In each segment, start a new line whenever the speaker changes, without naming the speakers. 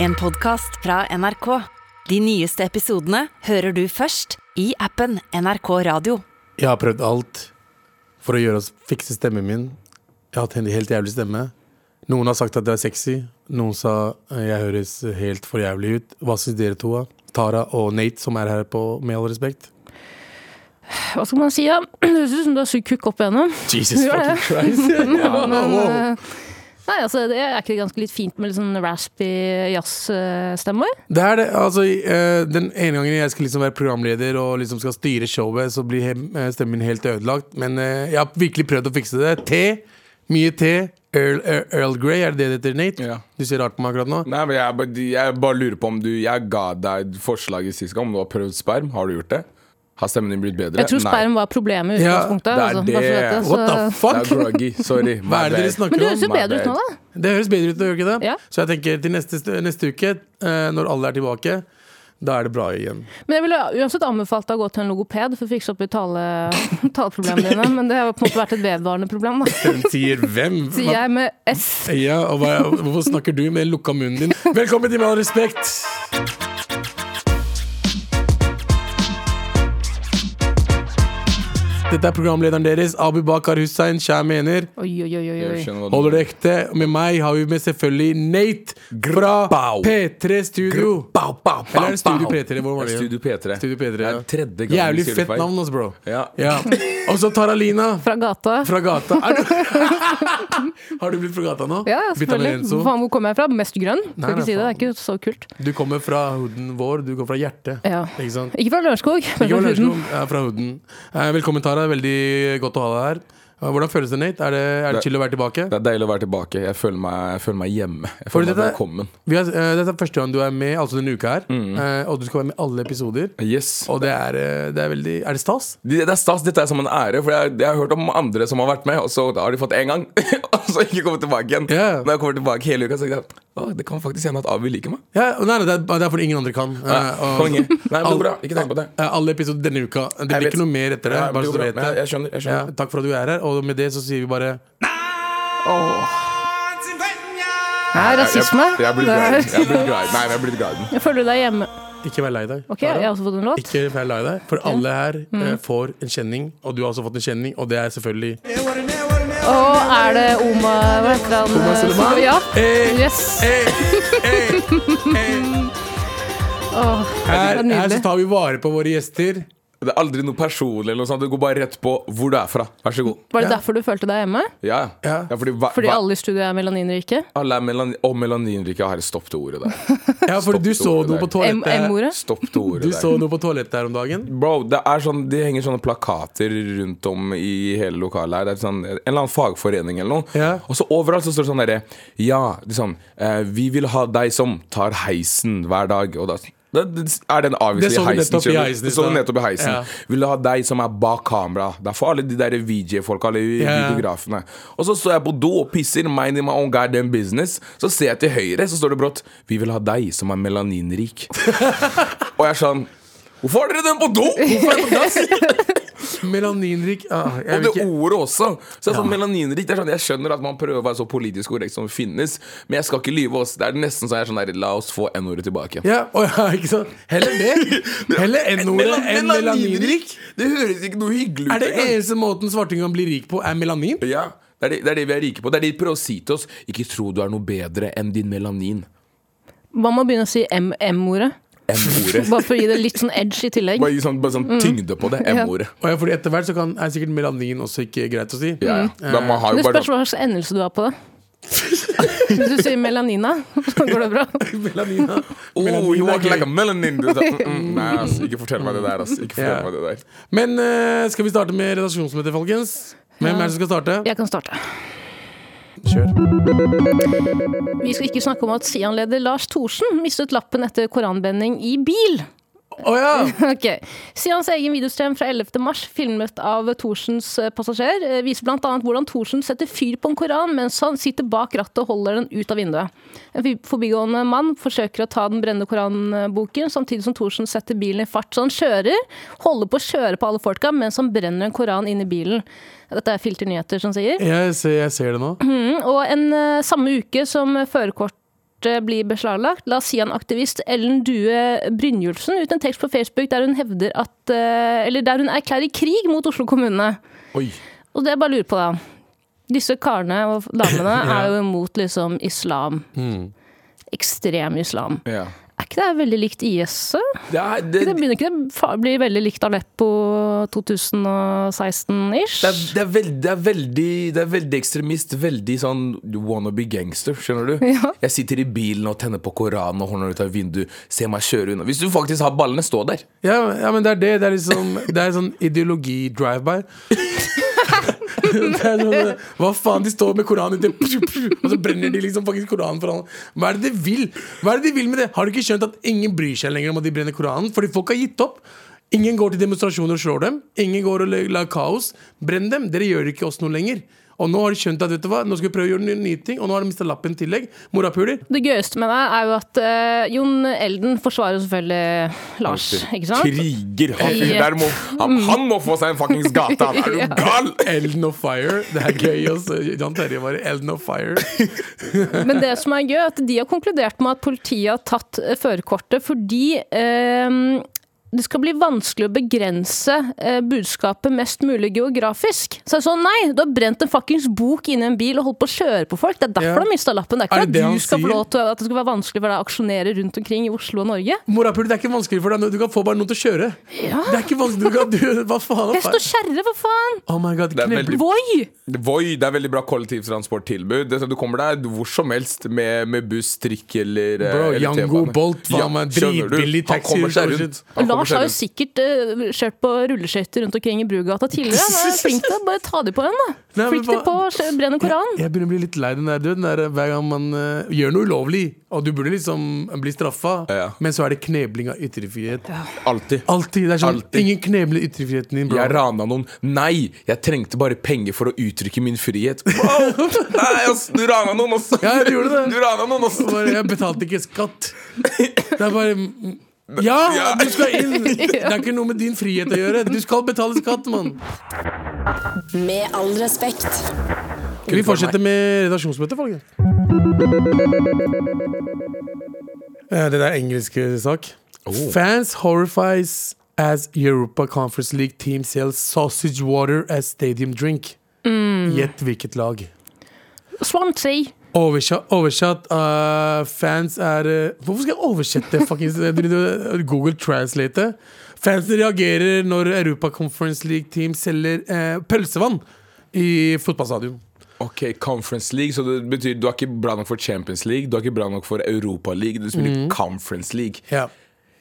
En podcast fra NRK. De nyeste episodene hører du først i appen NRK Radio.
Jeg har prøvd alt for å gjøre oss fikse stemmen min. Jeg har hatt en helt jævlig stemme. Noen har sagt at det er sexy. Noen sa eh, jeg høres helt for jævlig ut. Hva syns dere to? da? Tara og Nate, som er her på Med all respekt.
Hva skal man si, da? Det høres ut som du har sugd kukk opp igjennom.
Jesus
Ja, ja.
fucking Christ. Ja,
Men,
Ah, wow.
eh, Nei, altså, det er ikke det ganske litt fint med litt sånn raspy jazzstemmer?
Det er det. Altså, eh, den ene gangen jeg skal liksom være programleder og liksom skal styre showet, så blir he- eh, stemmen min helt ødelagt. Men eh, jeg har virkelig prøvd å fikse det. Te. Mye te. Earl, Earl, Earl Grey, er det det det heter, Nate?
Ja.
Du ser rart på meg akkurat nå.
Nei, men jeg, bare- jeg bare lurer på om du Jeg ga deg forslaget sist gang om du har prøvd sperm. Har du gjort det? Har stemmen din blitt bedre?
Jeg tror sperm var problemet i
Ja,
utgangspunktet.
det er
altså,
det.
bare for dette,
What the
så-
Nei. Det er
fuck?
groggy. Sorry.
Hva er det dere
Men
snakker
det høres jo
om?
My
bedre ut nå,
bad.
da.
Det høres bedre ut, gjør ikke det?
Ja.
Så jeg tenker til neste, neste uke, eh, når alle er tilbake, da er det bra igjen.
Men jeg ville uansett anbefalt deg å gå til en logoped for å fikse opp i tale, taleproblemene dine. Men det har jo på en måte vært et vedvarende problem, da.
Hun sier hvem?
Sier jeg med S.
Ja, og hva, hvorfor snakker du med lukka munnen din? Velkommen til Med all respekt! Dette er programlederen deres, Abu Bakar Hussein. Kjær mener.
Oi, oi, oi, oi.
Jeg
oi.
skjønner hva du-
Holder det ekte? Med meg har vi med selvfølgelig Nate fra
Grabau.
P3 Studio. Eller er det Studio
Pow.
P3? Hvor var det?
Ja,
igjen?
Studio P3.
Studio P3,
Det
ja.
er tredje gang
Jævlig
vi sier det
fett
feil.
navn, altså, bro.
Ja.
Ja. Og så Taralina
Fra gata.
fra gata. Er du har du blitt fra gata nå?
Ja, ja,
Bytta med
selvfølgelig.
Enzo.
Faen, hvor kommer jeg fra? Mest grønn?
Nei,
Skal ikke
nei,
si det, det
faen.
er ikke så kult.
Du kommer fra hooden vår, du kommer fra hjertet.
Ja.
Ikke sant?
Ikke fra Lørenskog,
Ikke
men fra
fra
huden.
Lørenskog, jeg er fra hooden. Eh, Velkommen, Tara. Veldig godt å ha deg her. Eh, Hvordan føles det, Nate? Er det, er det
Det-
chill å være tilbake?
Det er deilig å være tilbake. Jeg føler meg, jeg føler meg hjemme. Jeg
Fordi
føler meg
dette-
velkommen.
Vi har, eh, dette er første gang du er med altså denne uka her,
Mm.
eh, og du skal være med i alle episoder.
Yes.
Og det er, eh, det er veldig Er det stas?
Det, det er stas. Dette er som en ære, for jeg, jeg har hørt om andre som har vært med, og så har de fått én gang, og så ikke kommet tilbake igjen.
Ja.
Når jeg kommer tilbake hele uka, så tenker jeg «Å, det kan faktisk hende at Abu liker meg.
Ja, nei, nei, det er det er fordi ingen andre kan. Eh,
Ja,
og-
Konge. Nei, men det
Al-
går bra. Ikke tenk på det.
Eh, Alle episoder denne uka. Det
Jeg
blir
vet.
ikke noe mer etter det.
Ja,
bare
det
så du
går
vet
bra.
det.
Ja, jeg skjønner, jeg skjønner.
Ja, takk for at du er her. Og med det så sier vi bare
Nei, rasisme.
Jeg, jeg blir
Det er-
glad. Jeg blir glad. Nei, men jeg blir glad.
Jeg føler deg hjemme.
Ikke vær lei deg.
Ok, jeg har også fått en låt.
Ikke vær lei deg, for alle her eh,
Mm.
får en kjenning. Og du har også fått en kjenning, og det er selvfølgelig
Og er det Oma Hva heter han?
Omar Suleiman?
Ja.
Eh,
Yes. Åh,
her,
det er nydelig.
her så tar vi vare på våre gjester.
Det er aldri noe personlig eller noe sånt. Det går bare rett på hvor du er fra. Vær så god.
Var det derfor du følte deg hjemme?
Ja, ja.
Ja.
ja fordi hva,
Fordi
hva,
alle i studio er melaninrike?
alle er melanin... Og melaninrike. Herre, stopp det ordet der.
Ja, fordi du
Stopp
så
ordet
noe på
der.
M-
toalettet.
M-ordet?
Stopp det ordet
Du så
der.
noe på toalettet her om dagen.
Bro, det er sånn, De henger sånne plakater rundt om i hele lokalet. her Det er sånn, En eller annen fagforening eller noe.
Ja.
Og så overalt så står det sånn derre Ja, liksom, eh, vi vil ha deg som tar heisen hver dag. Og da det, det, er den
Det så
avgjørelsen
du
i heisen.
nettopp i
skjønner du?
heisen i
Det så du
stad.
nettopp i heisen.
Ja.
Vil ha deg som er bak kamera. Det er for alle de der VJ-folka eller
Ja.
videografene. Og så står jeg på do og pisser, minding my own goddamn business. Så ser jeg til høyre, så står det brått 'Vi vil ha deg som er melaninrik'. og jeg er sånn Hvorfor har dere den på do?! Hvorfor er den på dass?
Melaninrik ah, jeg
Og
vil
det
ikke.
ordet også. Så jeg, er sånn, melaninrik, det er sånn, jeg skjønner at man prøver å være så politisk korrekt som finnes, men jeg skal ikke lyve. Oss. Det er nesten så jeg er sånn der, La oss få N-ordet tilbake.
Ja, å ja, ikke sant? Heller det. Heller N-ordet
Melan-
enn melaninrik.
Det høres ikke noe hyggelig ut
Er det
engang.
eneste måten svarting kan bli rik på, er melanin?
Ja, det er det, det er det vi er rike på. Det er det de prøver å si til oss. Ikke tro du er noe bedre enn din melanin.
Man må begynne å si M-ordet.
M-ordet.
Bare for å gi det litt sånn edge i tillegg.
Bare gi sånn, bare sånn tyngde på det. M-ordet.
Og ja, fordi etter hvert så kan, er sikkert melanin også ikke greit å si.
Ja, ja. Da, man har
Men det
jo bare
spørs hva slags endelse du har på det. Hvis du sier melanina, så går det bra.
Melanina.
Oh, you
Melanin er
walk
gøy.
like a melanin. Du sa, mm, mm, nei, ass, ikke fortell meg det der, ass. Ikke fortell
Ja.
meg det der.
Men eh, skal vi starte med redaksjonsmøtet, folkens? Hvem er det som skal starte?
Jeg kan starte.
Kjør.
Vi skal ikke snakke om at Sian-leder Lars Thorsen mistet lappen etter koranbending i bil.
Å ja!
Ok. Sians egen videostrem fra 11. mars, filmet av Thorsens eh, passasjer, eh, viser bl.a. hvordan Thorsen setter fyr på en koran mens han sitter bak rattet og holder den ut av vinduet. En forbi- forbigående mann forsøker å ta den brennende koranboken, samtidig som Thorsen setter bilen i fart så han kjører, holder på å kjøre på alle folka mens han brenner en koran inni bilen. Dette er Filter Nyheter som sier.
Jeg ser, jeg ser det nå.
Og en, eh, samme uke som førerkort kortet blir beslaglagt, la Sian-aktivist Ellen Due Brynjulfsen ut en tekst på Facebook der hun hevder at eh, Eller der hun erklærer krig mot Oslo kommune.
Oi.
Og det jeg bare lurer på, da. Disse karene og damene
Ja.
er jo imot liksom islam.
Mm.
Ekstrem islam.
Ja.
Er ikke det veldig likt IS? så?
Det er, det,
Det begynner ikke det fa- bli veldig likt Aleppo 2016-ish?
det, er, det, er veldig, det, er veldig, det er veldig ekstremist. Veldig sånn wannabe gangster, skjønner du?
Ja.
Jeg sitter i bilen og tenner på Koranen og holder den ut av vinduet. Se meg kjøre unna. Hvis du faktisk har ballene, stå der.
Ja, ja, men det er det. Det er liksom Det er sånn ideologi-drive-by. Det er sånn, hva faen, de står med Koranen ute, og så brenner de liksom faktisk Koranen foran Hva er det de vil? Hva er det de vil med det? Har du ikke skjønt at ingen bryr seg lenger om at de brenner Koranen? Fordi folk har gitt opp. Ingen går til demonstrasjoner og slår dem. Ingen går og la- lager kaos. Brenn dem. Dere gjør ikke oss noe lenger. Og nå har de skjønt at vet du hva, nå skal vi prøve å gjøre nye- nye ting, og nå har de mista lappen i tillegg. Morapuler.
Det gøyeste med det er jo at eh, Jon Elden forsvarer selvfølgelig Lars, ikke sant?
Kriger. Han,
Ja.
der må, han, han må få seg en fuckings gate! Er du gal?
Elden of fire. Det er gøy også. Jan Terje var i Elden of fire.
Men det som er gøy, er at de har konkludert med at politiet har tatt eh, førerkortet fordi eh, det skal bli vanskelig å begrense eh, budskapet mest mulig geografisk. Så jeg sånn, nei, du har brent en fuckings bok inni en bil og holdt på å kjøre på folk. Det er
Ja.
derfor du har mista lappen. Det er
Er
ikke
det det
at
han
du skal få
sier?
lov til at det skal være vanskelig for deg å aksjonere rundt omkring i Oslo og Norge.
Morapuler, det er ikke vanskelig for deg. Du kan få bare noen til å kjøre. Det er ikke vanskelig, du kan du, Hva faen?
Hest og kjerre, for faen!
Oh my god,
Det er
knebler.
veldig-
Voi!
Voi, det er veldig bra kollektivtransporttilbud. Det er sånn, Du kommer deg hvor som helst med, med buss, trikk eller eh,
Bro,
eller
Yango,
T-bane.
Bolt, faen meg,
skjønner du?
dritbillig
Han
taxi,
kommer seg
shit.
rundt. Han kommer
Lars
seg
har jo
rundt.
sikkert eh, kjørt på rulleskøyter rundt omkring i Brugata tidligere. Han er flink til å bare ta de på en, da.
Nei, men
Flink til
hva-
på å skje- brenne Koranen.
Jeg begynner å bli litt lei den der, du, den der eh, hver gang man eh, gjør noe ulovlig, og du burde liksom bli straffa,
Ja.
men så er det knebling av ytringsfrihet.
Alltid.
Alltid. Det er sånn,
Alltid.
ingen knebler ytringsfriheten din, bro.
Jeg rana noen. Nei, jeg trengte bare penger for å uttrykke min frihet. Wow! Nei, ass, du rana noen, ass!
Ja, du gjorde det.
Du rana noen, ass!
Bare, jeg betalte ikke skatt. Det er bare mm, ja,
Ja.
du skal inn! Det er ikke noe med din frihet å gjøre. Du skal betale skatt, mann.
Med all respekt.
Vi fortsetter med redaksjonsmøtet, folkens. Eh, Det der er engelske sak. Fans horrifies as Europa Conference League team sells sausage water as stadium drink. Gjett hvilket lag.
Swansea.
Oversatt, oversatt eh, fans er eh, Hvorfor skal jeg oversette? fuckings- jeg driver og Google translate. Fansen reagerer når Europa Conference League team selger eh, pølsevann i fotballstadion.
Ok, Conference League, så det betyr du er ikke bra nok for Champions League, du er ikke bra nok for Europa League, du
Mm.
spiller Conference League.
Ja.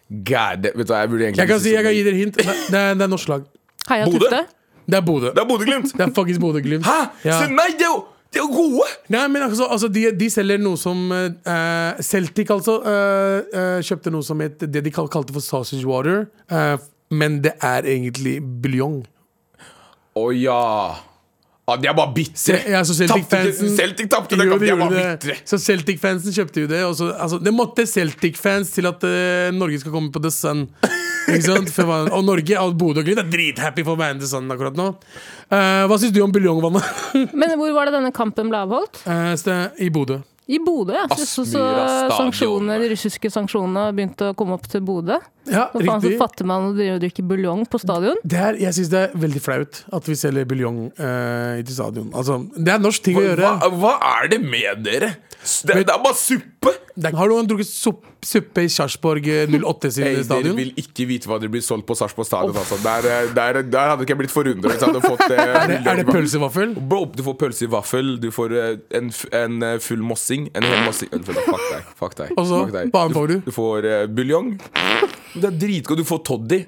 God, vet du hva, jeg burde egentlig
Jeg
sånn-
kan, si, jeg kan gi dere hint. Nei, Det er, det er norsk lag.
Heia
Bodø?
Tufte.
Det er Bodø.
Det er Bodø-Glimt!
Det er faktisk Bodø-Glimt.
Hæ?!
Ja.
Så, nei, de er jo de er jo gode!
Nei, men altså, altså de, de selger noe som eh, Celtic, altså, eh, eh, kjøpte noe som het det de kal kalte for sausage water. eh, men det er egentlig buljong.
Å ja. ja. De er bare bitre.
Ja, så Celtic
Tapte ikke-
fansen-
Celtic tapte, den
Jo,
kampen, de er
gjorde
bare
det.
bitre.
Så Celtic-fansen kjøpte jo det. Og så, altså, det måtte Celtic-fans til at eh, Norge skal komme på The Sun. Ikke sant? For, hva- og Norge og Bodø og Glimt er drithappy for å være med The Sun akkurat nå. Eh, hva syns du om buljongvannet?
Men hvor var det denne kampen ble avholdt?
Eh, så- I Bodø.
I Bodø, ja. Så, så, så
Aspmyra stadion.
sanksjoner, de russiske sanksjonene begynte å komme opp til Bodø.
Ja,
Hva faen så
riktig.
fatter man å drive og drikke buljong på stadion?
Det er, jeg syns det er veldig flaut at vi selger buljong eh, til stadion. Altså, det er norsk ting å gjøre.
Hva, hva er det med dere? Det, det er bare suppe!
Det er, har noen drukket supp, suppe i Sarpsborg eh, 08 sin
Hey, dere
stadion?
vil ikke vite hva dere blir solgt på Sarpsborg stadion. Altså. Der, eh, der, der hadde ikke jeg blitt forundret hvis jeg hadde fått eh,
Er det pølsevaffel?
Bro, du får pølse i vaffel, du får eh, en, f- en eh, full mossing. En hel mossing Unnskyld, Fuck deg. Fuck deg.
Og så,
fuck deg.
hva annet får du?
Du får eh, buljong. Det er dritgodt. Du får toddy.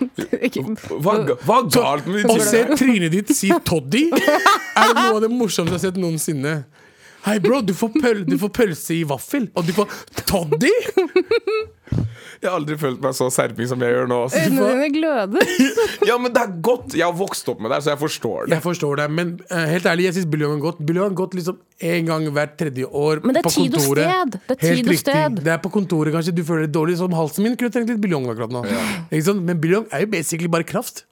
Hva, er ga- hva er galt med
Å
de
se
tingene?
trynet ditt si toddy er det noe av det morsomste jeg har sett noensinne. Hei, bro, du får, pøl, du får pølse i vaffel, og du får toddy!
Jeg har aldri følt meg så serping som jeg gjør nå. ass.
Eh.
Øynene dine gløder.
Ja, men det er godt! Jeg har vokst opp med det, her, så jeg forstår det.
Jeg forstår det, men eh, helt ærlig, jeg syns buljong er godt. Buljong er godt liksom én gang hvert tredje år.
Men det er
på
tid og
kontoret.
sted. Det er tid
Helt
og
riktig.
sted.
Det er på kontoret kanskje du føler det dårlig, som halsen min kunne trengt litt buljong akkurat nå. Ikke sant? Men buljong er jo basically bare kraft.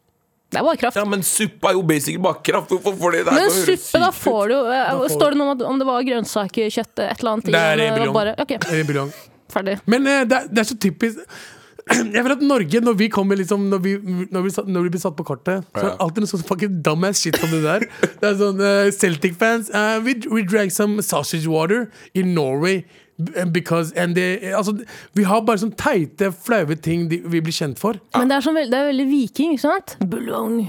Det er bare kraft.
Ja, men suppe er jo basically bare kraft. Hvorfor får de det der?
Men
Det høres
suppe, da
sykt ut.
får du jo eh,
Da får
Står det noe om, at, om det var grønnsaker, kjøtt, et eller annet? i,
Det er
eller
en buljong.
Bare, ok,
Det er en buljong.
ferdig.
Men eh, det, er, det er så typisk Jeg føler at Norge, når vi kommer liksom Når vi, når vi, satt- når vi blir satt på kartet, så er
Ja.
det alltid noe sånn fucking dumbass shit som det der. Det er sånn eh, Celtic-fans eh, we, we drank some sausage water in Norway because and they, altså, Vi har bare sånne teite, flaue ting de, vi blir kjent for.
Men det er, sånn, veld- det er veldig viking, ikke sant? Buljong.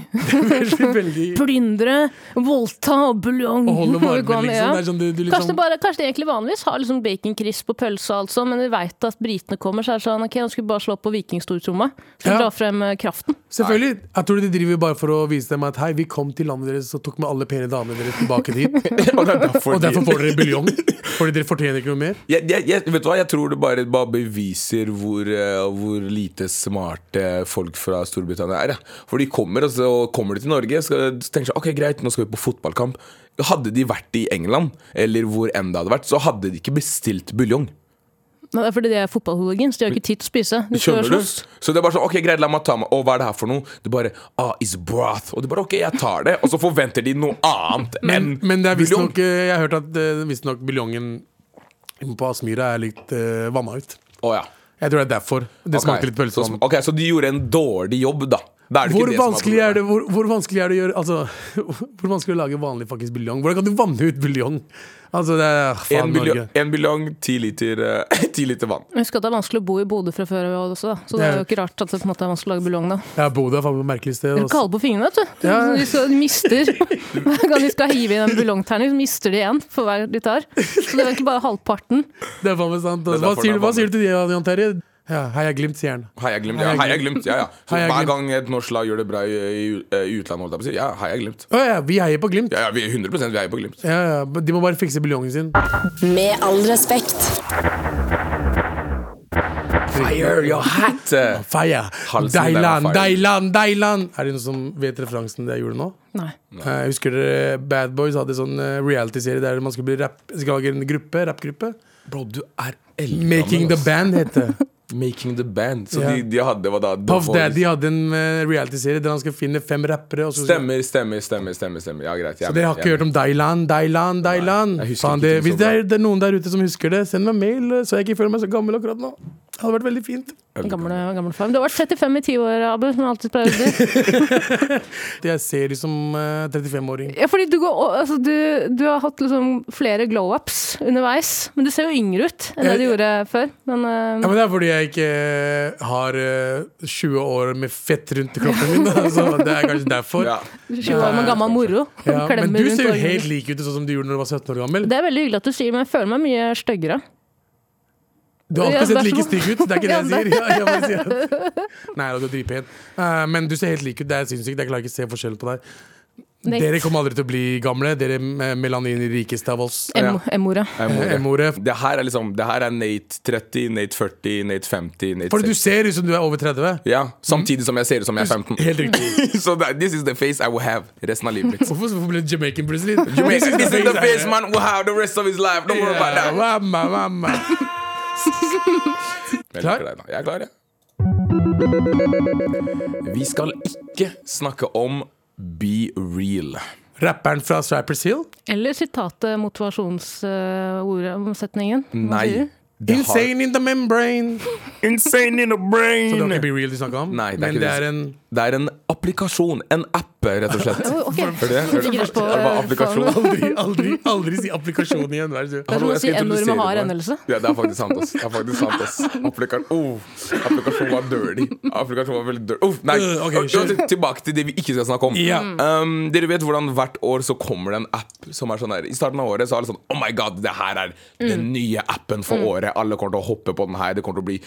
Veldig, veldig
Plyndre, voldta og buljong.
å holde
Gå
varmen,
an, ja.
liksom. Det er sånn, du, du
Kanskje, det
liksom
bare, kanskje de egentlig vanligvis har liksom baconcrisp på pølsa, altså, men vi veit at britene kommer, så er det sånn OK, nå skal vi bare slå på vikingstortromma. Skal vi
Ja.
dra frem eh, kraften.
Selvfølgelig. Jeg tror de driver bare for å vise dem at hei, vi kom til landet deres og tok med alle pene damene deres tilbake dit.
Og det er derfor,
Og derfor
de,
får dere buljong. Fordi dere fortjener ikke noe mer.
jeg, jeg, jeg, vet du hva, jeg tror det bare, bare beviser hvor, eh, hvor lite smarte folk fra Storbritannia er. ja. For de kommer, og så kommer de til Norge og tenker sånn Ok, greit, nå skal vi på fotballkamp. Hadde de vært i England, eller hvor enn det hadde vært, så hadde de ikke bestilt buljong.
Men det er fordi de er fotballhooligans, de har ikke tid til å spise. De skal
Skjønner du?
slåss.
Så det er bare sånn, ok, greit, la meg ta meg Og hva er det her for noe? Du bare, ah, is broth Og du bare, ok, jeg tar det Og så forventer de noe annet enn
Men, men det er
buljong.
visstnok eh, Jeg har hørt at eh, visstnok buljongen på Aspmyra er litt uh, vanna ut.
Å, ja.
Jeg tror det er derfor. Det
Ok.
smaker litt pølse.
så, sm- Ok, så de gjorde en dårlig jobb da Da er det ikke
Hvor
det som
vanskelig, er det,
problemet.
hvor, hvor vanskelig er det å gjøre Altså, hvor vanskelig er det å lage vanlig faktisk buljong? Hvordan kan du vanne ut buljong? Altså, det er
En
faen
buljong,
Norge.
en buljong 10 liter, eh, 10 liter vann
Husk at det er vanskelig å bo i Bodø fra før av også, da. så det er jo ikke rart at det på en måte er vanskelig å lage buljong da.
Ja, Bodø er faen meg et merkelig sted.
De er
Også.
kalde på fingrene, vet du.
Ja.
De, skal, de mister. Hver gang de skal hive i en buljongterning, så mister de en for hver de tar. Så det er egentlig bare halvparten.
Det er faen meg sant.
Det er
Hva
derfor
sier,
det er
hva sier du til det, Jan Terje? Ja, Heia Glimt, sier han.
Hei, jeg glemt, ja, hei, jeg glemt, ja, ja Så
Hei, jeg
hver
glemt.
gang et norsk lag gjør det bra i, i, eh, i utlandet holdt jeg på å si, Ja, hei, jeg glemt
Å ja, vi heier på Glimt.
Ja, ja, vi er 100% vi er på glimt
Ja, ja, men De må bare fikse buljongen sin.
Med all respekt.
Fire your hat eh.
Fire!
Halsen der
Deiland,
er fire.
Deiland, Deiland! Er det noen som vet referansen det jeg gjorde nå?
Nei.
Eh, husker dere Bad Boys hadde sånn eh, reality-serie der man skulle bli rap, skal lage en gruppe, rappgruppe?
Bro, du er eldgammel
Making the
ass.
Band het det.
Making the band Så
Ja.
de, de hadde, hva da? The
Puff
Voice.
Daddy hadde en eh, reality-serie der han skulle finne fem rappere. Og så,
Stemmer, stemmer, stemmer. stemmer, stemmer. Ja, greit.
Så dere har ikke hørt om Deiland, Deiland, Deiland?
jeg husker
Faen,
ikke
det,
ting så
hvis det er,
bra.
det er noen der ute som husker det, send meg mail, eh, så jeg ikke føler meg så gammel akkurat nå. Det hadde vært veldig fint.
Gamle, gamle farm. Du har vært 35 i ti år, Abu, som jeg alltid pleier å si.
Jeg ser ut som eh, 35-åring.
Ja, fordi du, går, altså, du, du har hatt liksom flere glow-ups underveis, men du ser jo yngre ut enn det du
Jeg-
gjorde før. Men, eh,
Ja, men Det er fordi jeg ikke eh, har eh, 20 år med fett rundt kroppen min. da, Så det er kanskje derfor.
Ja.
20 eh, år med gammel moro.
Ja, men
Klemmer
du
rundt
ser jo
ormen.
helt lik ut sånn som du gjorde når du var 17 år gammel.
Det er veldig hyggelig at du sier, men jeg føler meg mye styggere.
Du har
Ja,
alltid sett
vær så
like
god.
stygg ut. Det er ikke det jeg
Ja,
sier. Ja, jeg bare sier at... Nei da, du er dritpen. Eh, men du ser helt lik ut. Det er sinnssykt. Jeg klarer ikke å se forskjell på deg.
Nei.
Dere kommer aldri til å bli gamle. Dere eh, melaninrikeste av oss.
Ja.
Em- M-ordet.
Eh, M-ordet.
Det her er liksom Det her er Nate 30, Nate 40, Nate 50, Nate
Fordi du
60.
ser ut som du er over 30.
Ja, samtidig som jeg ser ut som jeg er 15.
Helt riktig.
so that, this is the face I will have resten av livet mitt.
Hvorfor, hvorfor ble du Jamaican plutselig?
This is the face
man.
man will have the rest of his life. Don't worry about that.
Mamma, mamma.
Jeg
Klar?
liker deg, da. Jeg er klar, jeg. Vi skal ikke snakke om Be Real.
Rapperen fra Cypress Hill.
Eller sitatet motivasjonsordet om setningen. Hva
Nei.
sier du?
det har-
Insane in the membrane.
Insane in the brain.
Så det var ikke Be Real du snakka om?
Nei, det er
men
ikke
det
det.
er en
Det er en applikasjon, en app, rett og slett.
Oh, ok.
Hører du det? Hører du det?
Ikke på,
det var
eh,
applikasjon.
Aldri, aldri, aldri si applikasjon igjen. Vær så
Det
snill.
er som
Hallo,
å
jeg
si
skal
N-ordet
introdusere
med hard
meg.
endelse.
Ja, det er faktisk sant, ass. Det er faktisk sant, ass. Applika oh, applikasjon var dirty. Applikasjon var veldig dirty. Uff, nei.
Øh, ok, kjør.
Til- tilbake til det vi ikke skal snakke om.
Ja.
Um, dere vet hvordan hvert år så kommer det en app som er sånn her I starten av året så er det sånn Oh my god, det her er den nye appen for året. Alle kommer til å hoppe på den her. Det kommer til å bli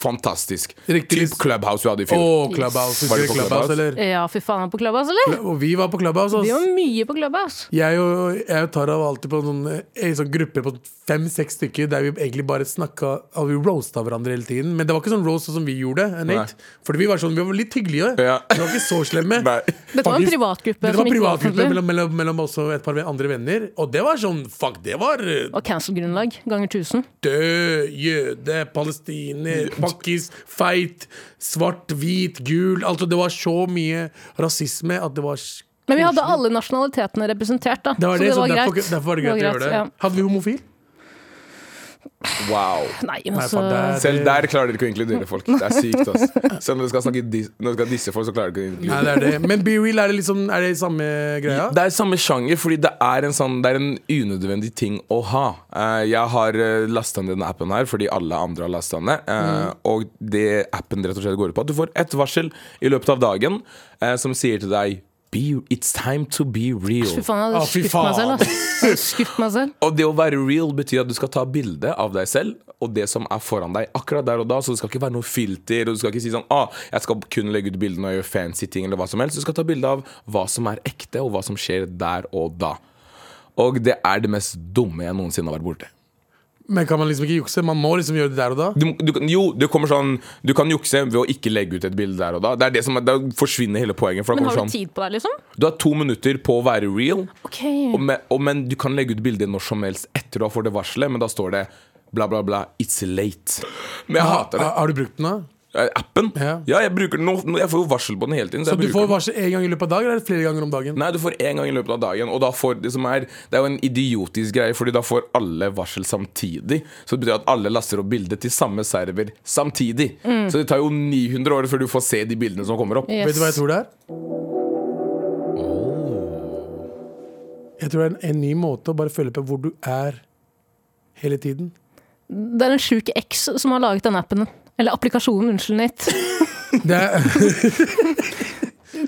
fantastisk.
Riktig.
Typ Clubhouse vi hadde i fjor.
Å, Clubhouse.
Var
Husker dere
det på
Clubhouse,
Clubhouse?
eller?
Ja, fy faen, er på Clubhouse, eller?
Og vi var på Clubhouse.
Vi var
Ass.
mye på Clubhouse.
Jeg og, jeg og Tara var alltid på en sånn, en sånn gruppe på fem-seks stykker der vi egentlig bare snakka altså, Vi roasta hverandre hele tiden. Men det var ikke sånn roast sånn som vi gjorde. eh, Nate. Fordi vi var sånn, vi var litt hyggelige.
Ja.
Vi var ikke så slemme.
Nei.
Dette var en
Faktisk-
privatgruppe
Dette
som
var
ikke var sånn.
privatgruppe
offentlig.
mellom, mellom, mellom oss og et par andre venner. Og det var sånn Fuck, det var eh,
Og cancel-grunnlag ganger 1000.
død jøde, palestiner Tjukkis, feit, svart, hvit, gul Altså Det var så mye rasisme at det var s-
Men vi hadde alle nasjonalitetene representert, da.
det var
så
det,
det
så
var
derfor,
greit.
derfor var det greit, å gjøre det.
ja.
Hadde vi homofil?
Wow.
Nei,
Nei,
men altså, så
faen, det er-
Selv der klarer dere ikke å inkludere folk. Det er sykt, ass. Selv når dere skal, snakke dis når dere skal disse folk, så klarer dere ikke å inkludere
Nei, det er det. Men Be Real, er det liksom Er det samme greia?
Det er samme sjanger, fordi det er en, sånn, det er en unødvendig ting å ha. Eh, jeg har uh, lasta ned denne appen her fordi alle andre har lasta den ned. eh, Og det appen rett og slett går ut på, at du får ett varsel i løpet av dagen eh, som sier til deg be, It's time to be real.
Fy faen, jeg
Å,
hadde
fy
skutt meg
faen.
selv. ass. Jeg hadde Skutt meg selv.
Og det å være real betyr at du skal ta bilde av deg selv og det som er foran deg akkurat der og da. Så det skal ikke være noe filter, og du skal ikke si sånn ah, jeg skal kun legge ut bilder når jeg gjør fancy ting, eller hva som helst. Du skal ta bilde av hva som er ekte, og hva som skjer der og da. Og det er det mest dumme jeg noensinne har vært borti.
Men kan man liksom ikke jukse? Man må liksom gjøre det der og da.
Du, du, kan- jo, det kommer sånn Du kan jukse ved å ikke legge ut et bilde der og da. Det er det som er, Da forsvinner hele poenget. For da
Men
kommer
har du
sånn,
tid på deg, liksom?
du har to minutter på å være real.
Ok.
Og men, og, men du kan legge ut bilder når som helst etter du har fått det varselet, men da står det bla, bla, bla, it's late. Men jeg hater det.
Har, har du brukt den, da?
Eh, Appen? Ja,
Ja.
jeg bruker den nå. nå- Jeg får jo varsel på den hele tiden.
Så
Så
du
jeg bruker
får
den.
varsel én gang i løpet av dagen, eller er det flere ganger om dagen?
Nei, du får én gang i løpet av dagen. Og da får det som er Det er jo en idiotisk greie, Fordi da får alle varsel samtidig. Så det betyr at alle laster opp bilde til samme server samtidig.
Mm.
Så det tar jo 900 år før du får se de bildene som kommer opp.
Yes.
Vet du hva jeg tror det er? Oh. Jeg tror det er en, en ny måte å bare følge på hvor du er hele tiden.
Det er en sjuk eks som har laget den appen. Eller applikasjonen, unnskyld, Nate.
Det er,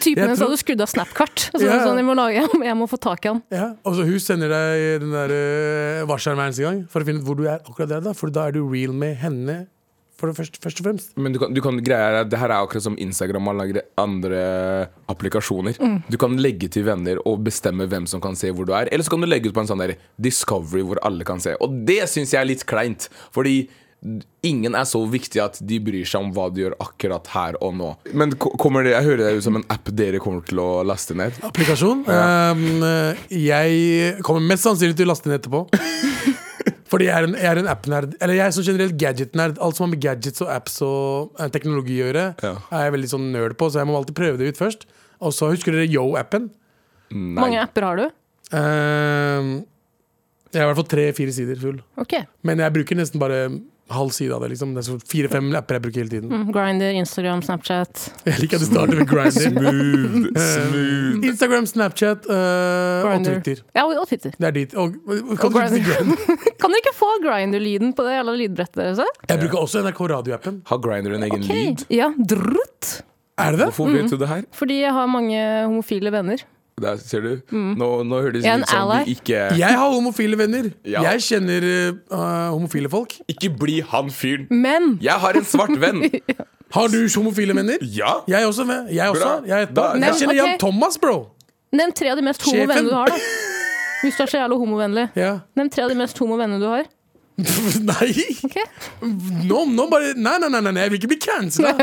Typen
Jeg
hennes
tror-
hadde skrudd av Snapkart. Så
Ja.
sånn, jeg, må lage, jeg må få tak i han.
ja. Og så hun sender deg den der eh, varselen hver eneste gang for å finne ut hvor du er akkurat der, da. For da er du real med henne, for det første, først og fremst.
Men du kan, du kan greia er at det her er akkurat som Instagram og alle gre- andre applikasjoner.
Mm.
Du kan legge til venner og bestemme hvem som kan se hvor du er. Eller så kan du legge ut på en sånn der Discovery hvor alle kan se. Og det syns jeg er litt kleint. Fordi ingen er så viktig at de bryr seg om hva du gjør akkurat her og nå. Men ko- kommer det, jeg hører det ut som en app dere kommer til å laste ned.
Applikasjon. Um, eh, jeg kommer mest sannsynlig til å laste den etterpå. Fordi jeg er en, jeg er en app-nerd. Eller jeg er sånn generelt gadget-nerd. Alt som har med gadgets og apps og eh, teknologi å gjøre,
Ja.
er jeg veldig sånn nerd på, så jeg må alltid prøve det ut først. Og så husker dere Yo-appen?
Nei.
mange apper har du?
Um, jeg har i hvert fall tre-fire sider full.
Ok.
Men jeg bruker nesten bare halv side av det. liksom Det er sånn Fire-fem apper jeg bruker hele tiden.
Mm, Grindr, Instagram, Snapchat.
Jeg liker at du starter med Grindr.
Smooth,
Eh,
smooth.
Instagram, Snapchat eh, og
Grindr.
Twitter.
Ja, og og Twitter.
Det er dit. Og,
Og Grindr. Kan dere ikke få Grindr-lyden på det jævla lydbrettet deres? da?
Jeg bruker også NRK radioappen.
Har Grinder en egen
Ok. Mm.
lyd?
Ja, drutt.
Er det det?
Hvorfor vet du det her?
Fordi jeg har mange homofile venner.
Der, ser du? Nå, nå høres det
Mm. Jeg er en
ut som
ally.
de ikke
Jeg har homofile venner.
Ja.
Jeg kjenner eh, homofile folk.
Ikke bli han fyren.
Men
Jeg har en svart venn.
Har du homofile venner?
Ja.
Jeg også. med. Jeg, også.
Bra.
Jeg, er et
Da-
par.
Nevn-
jeg kjenner Jan
ok.
Thomas, bro.
nevn tre av de mest homo
Sjefen.
vennene du har, da. Hvis du er så jævla homovennlig.
Ja.
Nevn tre av de mest homo vennene du har.
nei.
Ok?
Nå, nå bare nei, nei, nei, nei, nei, jeg vil ikke bli cancela.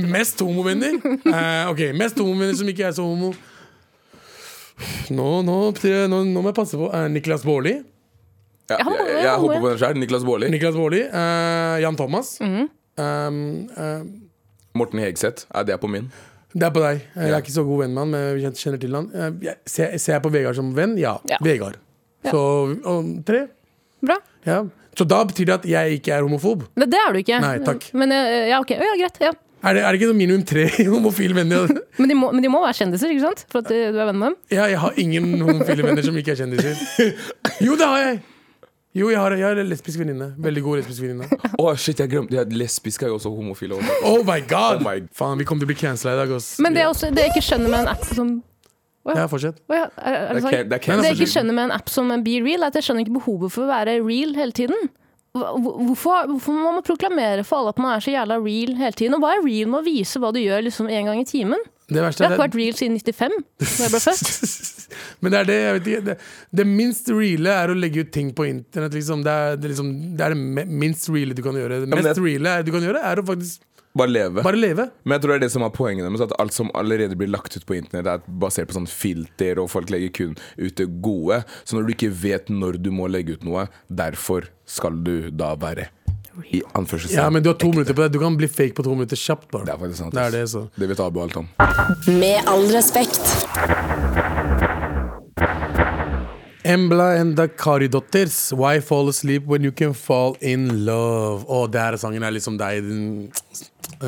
mest homovenner. Eh, ok, mest homovenner som ikke er så homo. Nå, nå, nå, nå må jeg passe på. Eh, Niklas Baarli.
Ja,
Jeg har mange,
jeg, jeg,
jeg har
hopper
mange.
på den sjøl. Niklas Baarli.
Niklas Baarli. eh, Jan Thomas.
Mhm.
Um, eh,
Morten Hegseth. Ja, det er på min.
Det er på deg. Eh, Jeg
Ja.
er ikke så god venn med han, men jeg kjen- kjenner til han. Eh, jeg- Ser ser jeg på Vegard som venn? Ja.
Ja.
Vegard.
Ja.
Så og, tre.
Bra.
Ja. Så da betyr det at jeg ikke er homofob?
Det, det er du ikke.
Nei, takk.
Men eh, ja, ok. Å, Ja, greit. Ja.
Er det, er det ikke noe minimum tre homofile venner?
Men, de må, men de må være kjendiser, ikke sant? For at eh, du er venn med dem.
Ja, jeg har ingen homofile venner som ikke er kjendiser. Jo, det har jeg! Jo, jeg har, jeg har en lesbisk venninne. Veldig god lesbisk venninne.
Å, shit, jeg glemte jeg- Lesbiske er jo også homofile. også.
Oh my god!
Oh my-
Faen, vi kommer til å bli cancela i dag, ass.
Men det jeg, også, det jeg ikke skjønner med en app som
Ja, fortsett.
Å ja, er, er det
Det er
sånn?
ca- det er
Det jeg ikke
cancel.
skjønner med en app som Be Real, er at jeg skjønner ikke behovet for å være real hele tiden. Hva- hvor- Hvorfor, hvorfor må man proklamere for alle at man er så jævla real hele tiden? Og hva er real med å vise hva du gjør liksom en gang i timen?
Det
Jeg
verste
har
er
ikke vært real siden 95, da jeg ble født.
Men det er det, jeg vet ikke det, det minst reale er å legge ut ting på internett. Liksom. Det, er, det, er liksom, det er det me- minst reale du kan gjøre. Det
men
mest
det-
reale du kan gjøre, er å faktisk
Bare leve.
bare leve.
Men jeg tror det er det som er poenget deres. At alt som allerede blir lagt ut på internett, er basert på sånn filter, og folk legger kun ut det gode. Så når du ikke vet når du må legge ut noe, derfor skal du da være I anførselstegn.
Ja, men du har to minutter på deg. Du kan bli fake på to minutter kjapt, bare.
Det er faktisk sant.
Det
ass.
er det, så.
Det vet Abu alt om.
Med all respekt.
Embla and the Karidotters. Why fall asleep when you can fall in love? Å, der sangen er liksom deg. Den.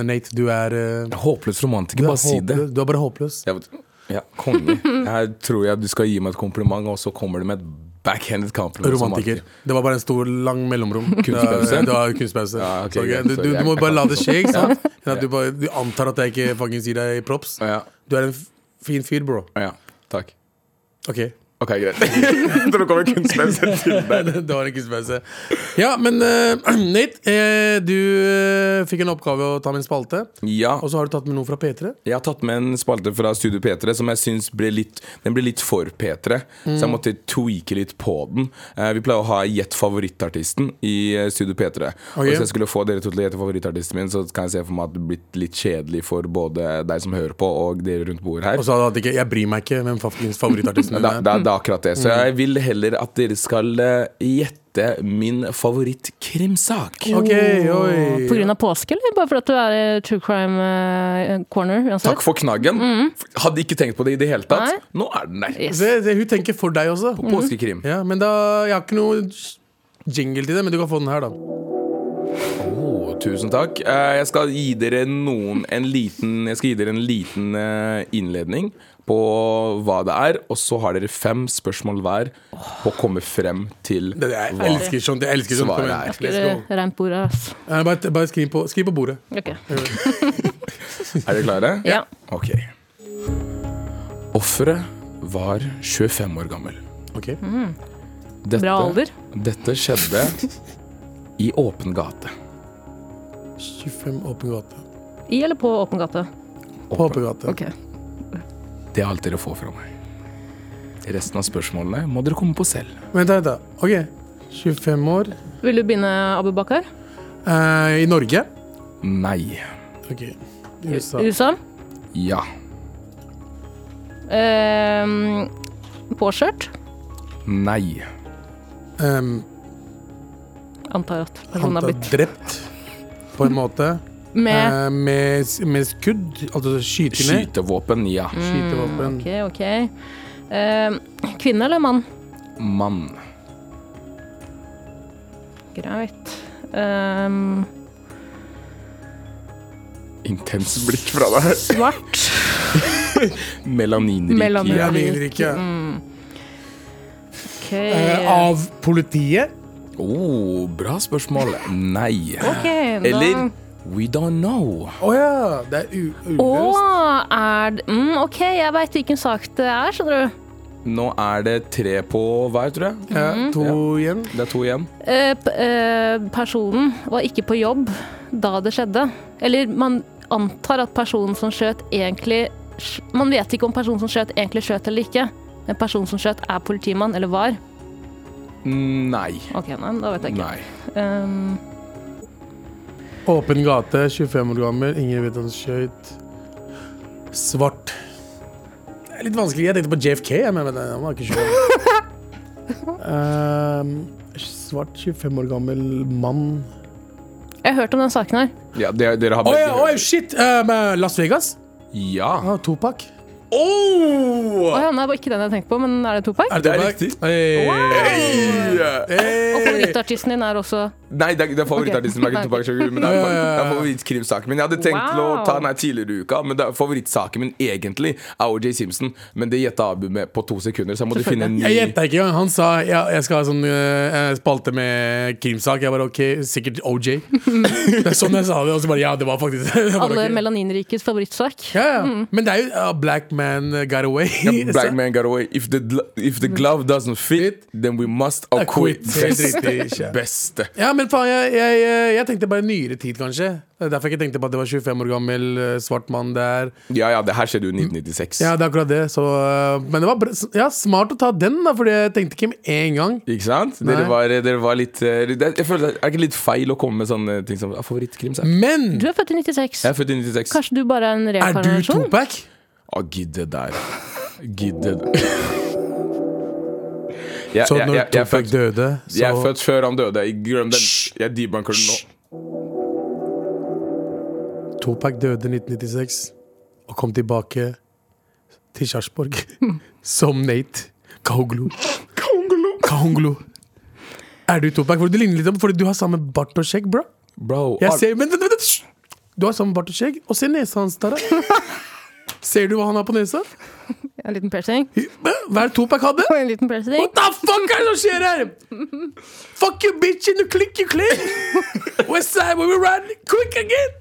Nate, du er eh,
Håpløs romantiker,
du er,
bare si det.
håpløs. du er bare håpløs.
Jeg vet, ja, konge. Her tror jeg du skal gi meg et kompliment, og så kommer du med et backhanded compliment. som
Romantiker.
alltid.
Det var bare en stor, lang mellomrom.
Kunstpause.
Det var kunstpause.
Ja, ok,
Så, ok,
greit.
du,
Så
du,
jeg
du må
kan-
bare la det skje, ikke sant? Sånn At du, bare, du antar at jeg ikke fucking sier deg props.
Ja,
Du er en f- fin fyr, bro.
ja, takk.
Ok.
Ok, greit. Nå kommer kunstpausen til deg.
det var en kunstpause. Ja, men eh, Nate, eh, du eh, fikk en oppgave å ta med en spalte.
Ja,
Og så har du tatt med noe fra P3.
jeg har tatt med en spalte fra Studio P3 som jeg syns ble litt Den ble litt for P3, så
Mm.
jeg måtte tweake litt på den. Eh, vi pleier å ha Gjett favorittartisten i eh, Studio P3. Og
Ok.
hvis jeg skulle få dere to til å gjette favorittartisten min, så kan jeg se for meg at det blitt litt kjedelig for både deg som hører på, og dere rundt bordet her.
Og så hadde han ikke Jeg bryr meg ikke hvem fuckings favorittartisten din
Det,
Mm.
er.
det, det er akkurat det. Så jeg vil heller at dere skal eh, gjette min favorittkrimsak.
Ok, oi.
På grunn av påske, eller bare fordi du er i true crime eh, corner? uansett?
Takk for knaggen. Hadde ikke tenkt på det i det hele tatt.
Mm. Nei.
Nå er den der.
Yes.
Se, se, hun tenker for deg også.
Påskekrim.
Ja, men da Jeg har ikke noe jingle til det, men du kan få den her, da.
Åh, Oh, tusen takk. Eh, Jeg skal gi dere noen en liten, Jeg skal gi dere en liten eh, innledning på hva det er, og så har dere fem spørsmål hver på å komme frem til
Det, jeg
hva
elsker sånt. Jeg elsker sånt.
svaret
Kom igjen.
er.
Let's go.
Eller Rent bord, ass.
Eh, Bare, bare skriv, på, skriv på bordet.
Ok.
Er dere klare?
Ja.
Ok. Offeret var 25 år gammel.
Ok.
Mhm.
Dette,
Bra alder.
Dette skjedde i åpen gate.
25 Åpen gate.
I eller på åpen gate?
På Åpen gate.
Ok.
Det er alt dere får fra meg. Resten av spørsmålene må dere komme på selv.
Vent, da, vent, da. Ok. 25 år.
Vil du begynne, Abu Bakar?
Eh, I Norge.
Nei.
Ok. USA.
USA?
Ja.
Ehm, påkjørt?
Nei.
Um,
Antar at
han
personen har
er
blitt
drept, på en måte.
med
Eh, med, s- med skudd. Altså skyte ned.
Skytevåpen. Ja.
Mm. Skytevåpen.
Mm, Ok, ok. Ehm, kvinne eller mann?
Mann.
Greit. Ehm,
Intens blikk fra deg.
svart.
Melaninrik.
Melanin.
Ja.
Ja, min rike.
mm. Ok.
Eh, av politiet?
Oh, bra spørsmål. Nei.
Ok, da-
Eller We don't know.
Å ja! Det er u-
Å,
uløst.
er det mm, OK, jeg veit hvilken sak det er, skjønner du.
Nå er det tre på hver, tror jeg.
Ja,
mm.
to igjen.
Det er to igjen.
Eh, p eh, personen var ikke på jobb da det skjedde. Eller man antar at personen som skjøt, egentlig sk- Man vet ikke om personen som skjøt, egentlig skjøt eller ikke. Men personen som skjøt, er politimann, eller var.
Nei.
OK, nei, da vet jeg ikke.
Nei.
Ehm,
Åpen gate, 25 år gammel, ingen vet han skøyt. Svart. Det er litt vanskelig. Jeg tenkte på JFK, jeg, men men han var ikke 25. Eh, svart, 25 år gammel mann
jeg har hørt om den saken her.
Ja, dere, dere har
Å ja, å
begge
ja, shit! Eh, men Las Vegas?
Ja.
Ah, Topak.
Å ja, nei, det var ikke den jeg tenkte på, men er det Tupac?
Det er
Tupac?
riktig.
Hey.
Hey!
Hey.
Og favorittartisten din er også
Nei, det er, det er favorittartisten min.
Ok.
Tupac Shakur, men det er, det er favorittkrimsaken min. Jeg hadde tenkt til å
Wow.
ta den her tidligere i uka, men det er favorittsaken min egentlig er OJ Simpson. Men det gjetta Abu med på to sekunder, så jeg måtte finne en ny
Jeg gjenta ikke engang. Han sa ja, jeg skal ha sånn eh, spalte med krimsak. Jeg bare OK, sikkert OJ. det er sånn jeg sa det. Og så bare ja, det var faktisk det. Jeg bare,
alle Mm.
«Ok».
melaninrikes favorittsak.
Ja, ja. Men det er jo uh, Black Man Got Away.
Black man got away. If the, gl- if the glove doesn't fit, then we must acquit.
Acquit. Helt riktig,
Best.
ikke.
Beste.
ja, men faen, jeg, jeg, eh, jeg- jeg tenkte bare nyere tid, kanskje. Det er derfor jeg ikke tenkte på at det var 25 år gammel eh, svart mann der.
Ja, ja, det her skjedde jo i 1996.
Ja, det er akkurat det. Så, eh, men det var bra- ja, smart å ta den, da, Fordi jeg tenkte ikke med en gang.
Ikke sant? Dere
Nei.
var, dere var litt eh, det, Jeg føler det er ikke litt feil å komme med sånne ting som ah, favorittkrimsak.
Men
Du er født i 96.
Jeg er født i 96.
Kanskje du bare er en
er du
reinkarnasjon?
Topac?
Å, Ah, gidd det der. Gidd det der. Jeg,
Så
jeg-
når
jeg- jeg er
Topac
født-
døde, så
Jeg er født før han døde. Jeg Glem den. Jeg debunker den nå.
Topak døde i 1996 og kom tilbake til Sarpsborg som Nate Kahunglu. Kahunglu. Er du Topak? For du ligner litt om Fordi du har samme bart og skjegg, bro.
Bro,
Jeg
Ar-
ser, men, vent, vent, vent, hysj! Du har samme bart og skjegg, og se nesa hans der. Ser du hva han har på nesa?
En liten piercing.
Hva er det Topak hadde?
Og en liten piercing.
What the fuck er det som skjer her? Fuck you, bitch, and you click, you click. West side, we run, quick again.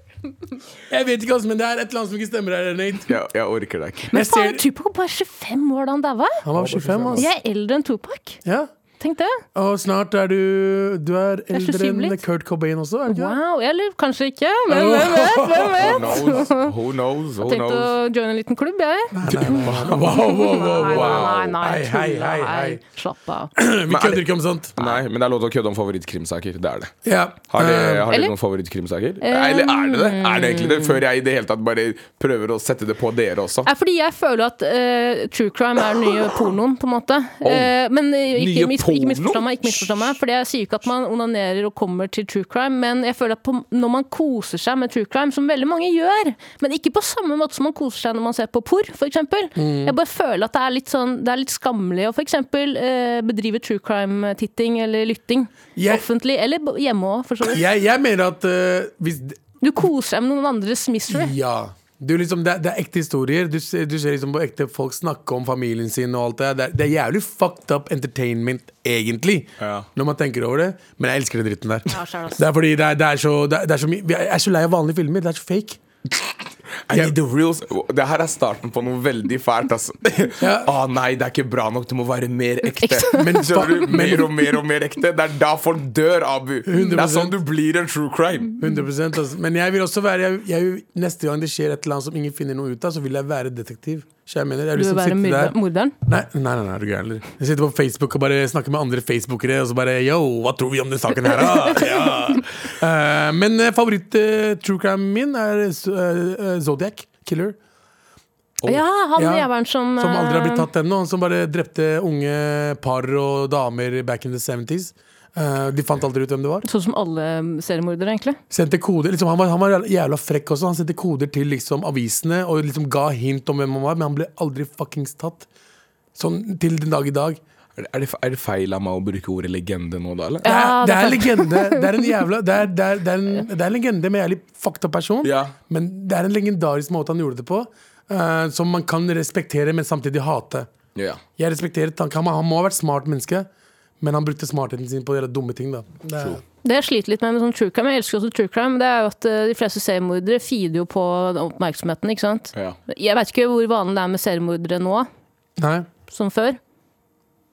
Jeg vet ikke, altså, men det er et eller annet som ikke stemmer her. Nate.
jeg, jeg orker deg ikke.
Men
Jeg ser-
faen, Tupac var bare 25 år da han daua.
Han var 25, altså.
Jeg er eldre enn Tupac.
Ja.
Tenk det.
Og snart er du Du er
er
eldre
27
enn
litt.
Kurt Cobain også, er du ikke? det?
Wow. Eller kanskje ikke. Men hvem vet? Hvem
Who
vet?
knows? Who knows? Who
Tenkte å
knows?
joine en liten klubb, jeg.
Wow, wow, wow, wow.
Nei, nei, nei.
Hei, hei, hei, hei.
Nei, Slapp av.
Vi kødder ikke om sånt.
Nei, men det er lov til å kødde om favorittkrimsaker. Det er det.
Ja.
Har dere,
Eh,
har dere
Um, eller- Um,
noen favorittkrimsaker? Eller er det det? Er det egentlig det? Før jeg i det hele tatt bare prøver å sette det på dere også.
Nei, fordi jeg føler at eh, true crime er den nye pornoen, på en måte. Eh, men eh, ikke,
Nye
mis, ikke misforstå
porno?
meg, ikke misforstå meg. Fordi jeg sier ikke at man onanerer og kommer til true crime, men jeg føler at på, når man koser seg med true crime, som veldig mange gjør, men ikke på samme måte som man koser seg når man ser på porr, f.eks. eksempel
Mm.
Jeg bare føler at det er litt, sånn, det er litt skammelig å f.eks. Uh, bedrive true crime-titting eller lytting
Jeg-
offentlig, eller b- hjemme òg, for så vidt.
Jeg, jeg mener at eh, hvis
Du koser deg med noen andres mystery.
Ja. Du liksom, det, er- det er ekte historier. Du, ser- du ser liksom på ekte folk snakke om familien sin. og alt Det der. det er, det er jævlig fucked up entertainment, egentlig,
Ja.
når man tenker over det. Men jeg elsker den dritten der.
skjønner det.
det er fordi det er, det er så, det er, det er så mye Jeg er så lei av vanlige filmer. Det er så fake.
I need the reals Det her er starten på noe veldig fælt, altså.
Ja.
Å nei, det er ikke bra nok. Det må være mer ekte.
Ekte.
Men Skjønner du?
Men-
Mer og mer og mer ekte. Det er da folk dør, Abu. Det er
100%.
sånn du blir en true crime.
100% altså. Men jeg vil også være jeg, jeg, neste gang det skjer et eller annet som ingen finner noe ut av, så vil jeg være detektiv. Så jeg mener, jeg
Du
vil
vil
liksom
være
sitte der
myrder- morderen.
Nei, nei, nei, nei, er du gæren, eller? Jeg sitter på Facebook og bare snakker med andre facebookere, og så bare Yo, hva tror vi om den saken her, da? Ja. Eh, men favoritt-true crime min er eh, eh, Zodiac Killer.
Ja, han
Ja.
jævelen som
Som aldri har blitt
eh,
tatt ennå. Han som bare drepte unge par og damer back in the 70s. Eh, de fant aldri ut hvem det var.
Sånn som alle seriemordere, egentlig.
Sendte koder, liksom, han, var, han var jævla frekk også. Han sendte koder til liksom, avisene og liksom ga hint om hvem han var, men han ble aldri fuckings tatt. Sånn til den dag i dag.
Er det, er det- er det feil av meg å bruke ordet legende nå, da? eller?
Det er, det
Ja, det
er
er
en legende. Det er en jævla Det er, det er, det er, en, det er en legende med jævlig fucked up person,
Ja.
men det er en legendarisk måte han gjorde det på, eh, som man kan respektere, men samtidig hate.
Ja.
Jeg respekterer tanken. Han, han må ha vært smart menneske, men han brukte smartheten sin på å gjøre dumme ting. Da. Det er,
Det jeg sliter litt med med sånn true crime, jeg elsker også true crime, det er jo at eh, de fleste seriemordere feeder jo på oppmerksomheten, ikke sant.
Ja.
Jeg veit ikke hvor vanlig det er med seriemordere nå
nei.
som før.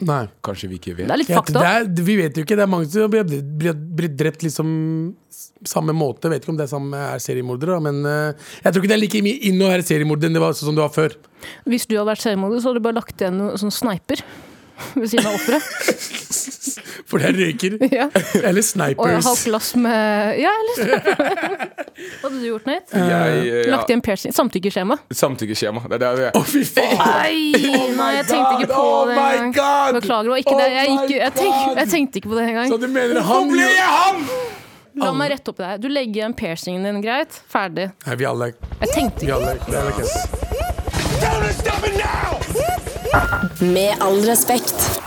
nei.
Kanskje vi ikke
Det
vet.
er litt
Ja,
fucked
det
up.
er, vi vet jo ikke. Det er mange som blir, blir, blir drept liksom s- samme måte. Vet ikke om det er samme er seriemordere, da, men eh, jeg tror ikke det er like mye inn å være seriemorder enn det var sånn som det var før.
Hvis du hadde vært seriemorder, så hadde du bare lagt igjen noen sånn sniper ved siden av offeret.
For det er røyker.
ja.
Eller
Og et
snipers.
halvt glass med Ja, eller sniper. Hva hadde du gjort, Nate?
Jeg, eh, ja.
Lagt igjen piercing. Samtykkeskjema.
Samtykkeskjema. Det er det jeg
Å, fy faen!
Nei, nei, jeg tenkte ikke på
Oh
det
my
engang.
Oh God!
Beklager, det var ikke
Oh
det. Jeg,
my
gikk, jeg, tenkte,
God!
jeg tenkte ikke på det engang.
Så du mener han
Hvorfor ble jeg han?!
La meg rette opp det her. Du legger igjen piercingen din, greit? Ferdig.
Nei, vi alle er
Jeg tenkte
Vi
ikke
alle er, det er ok.
Don't stop it now!
Med all respekt.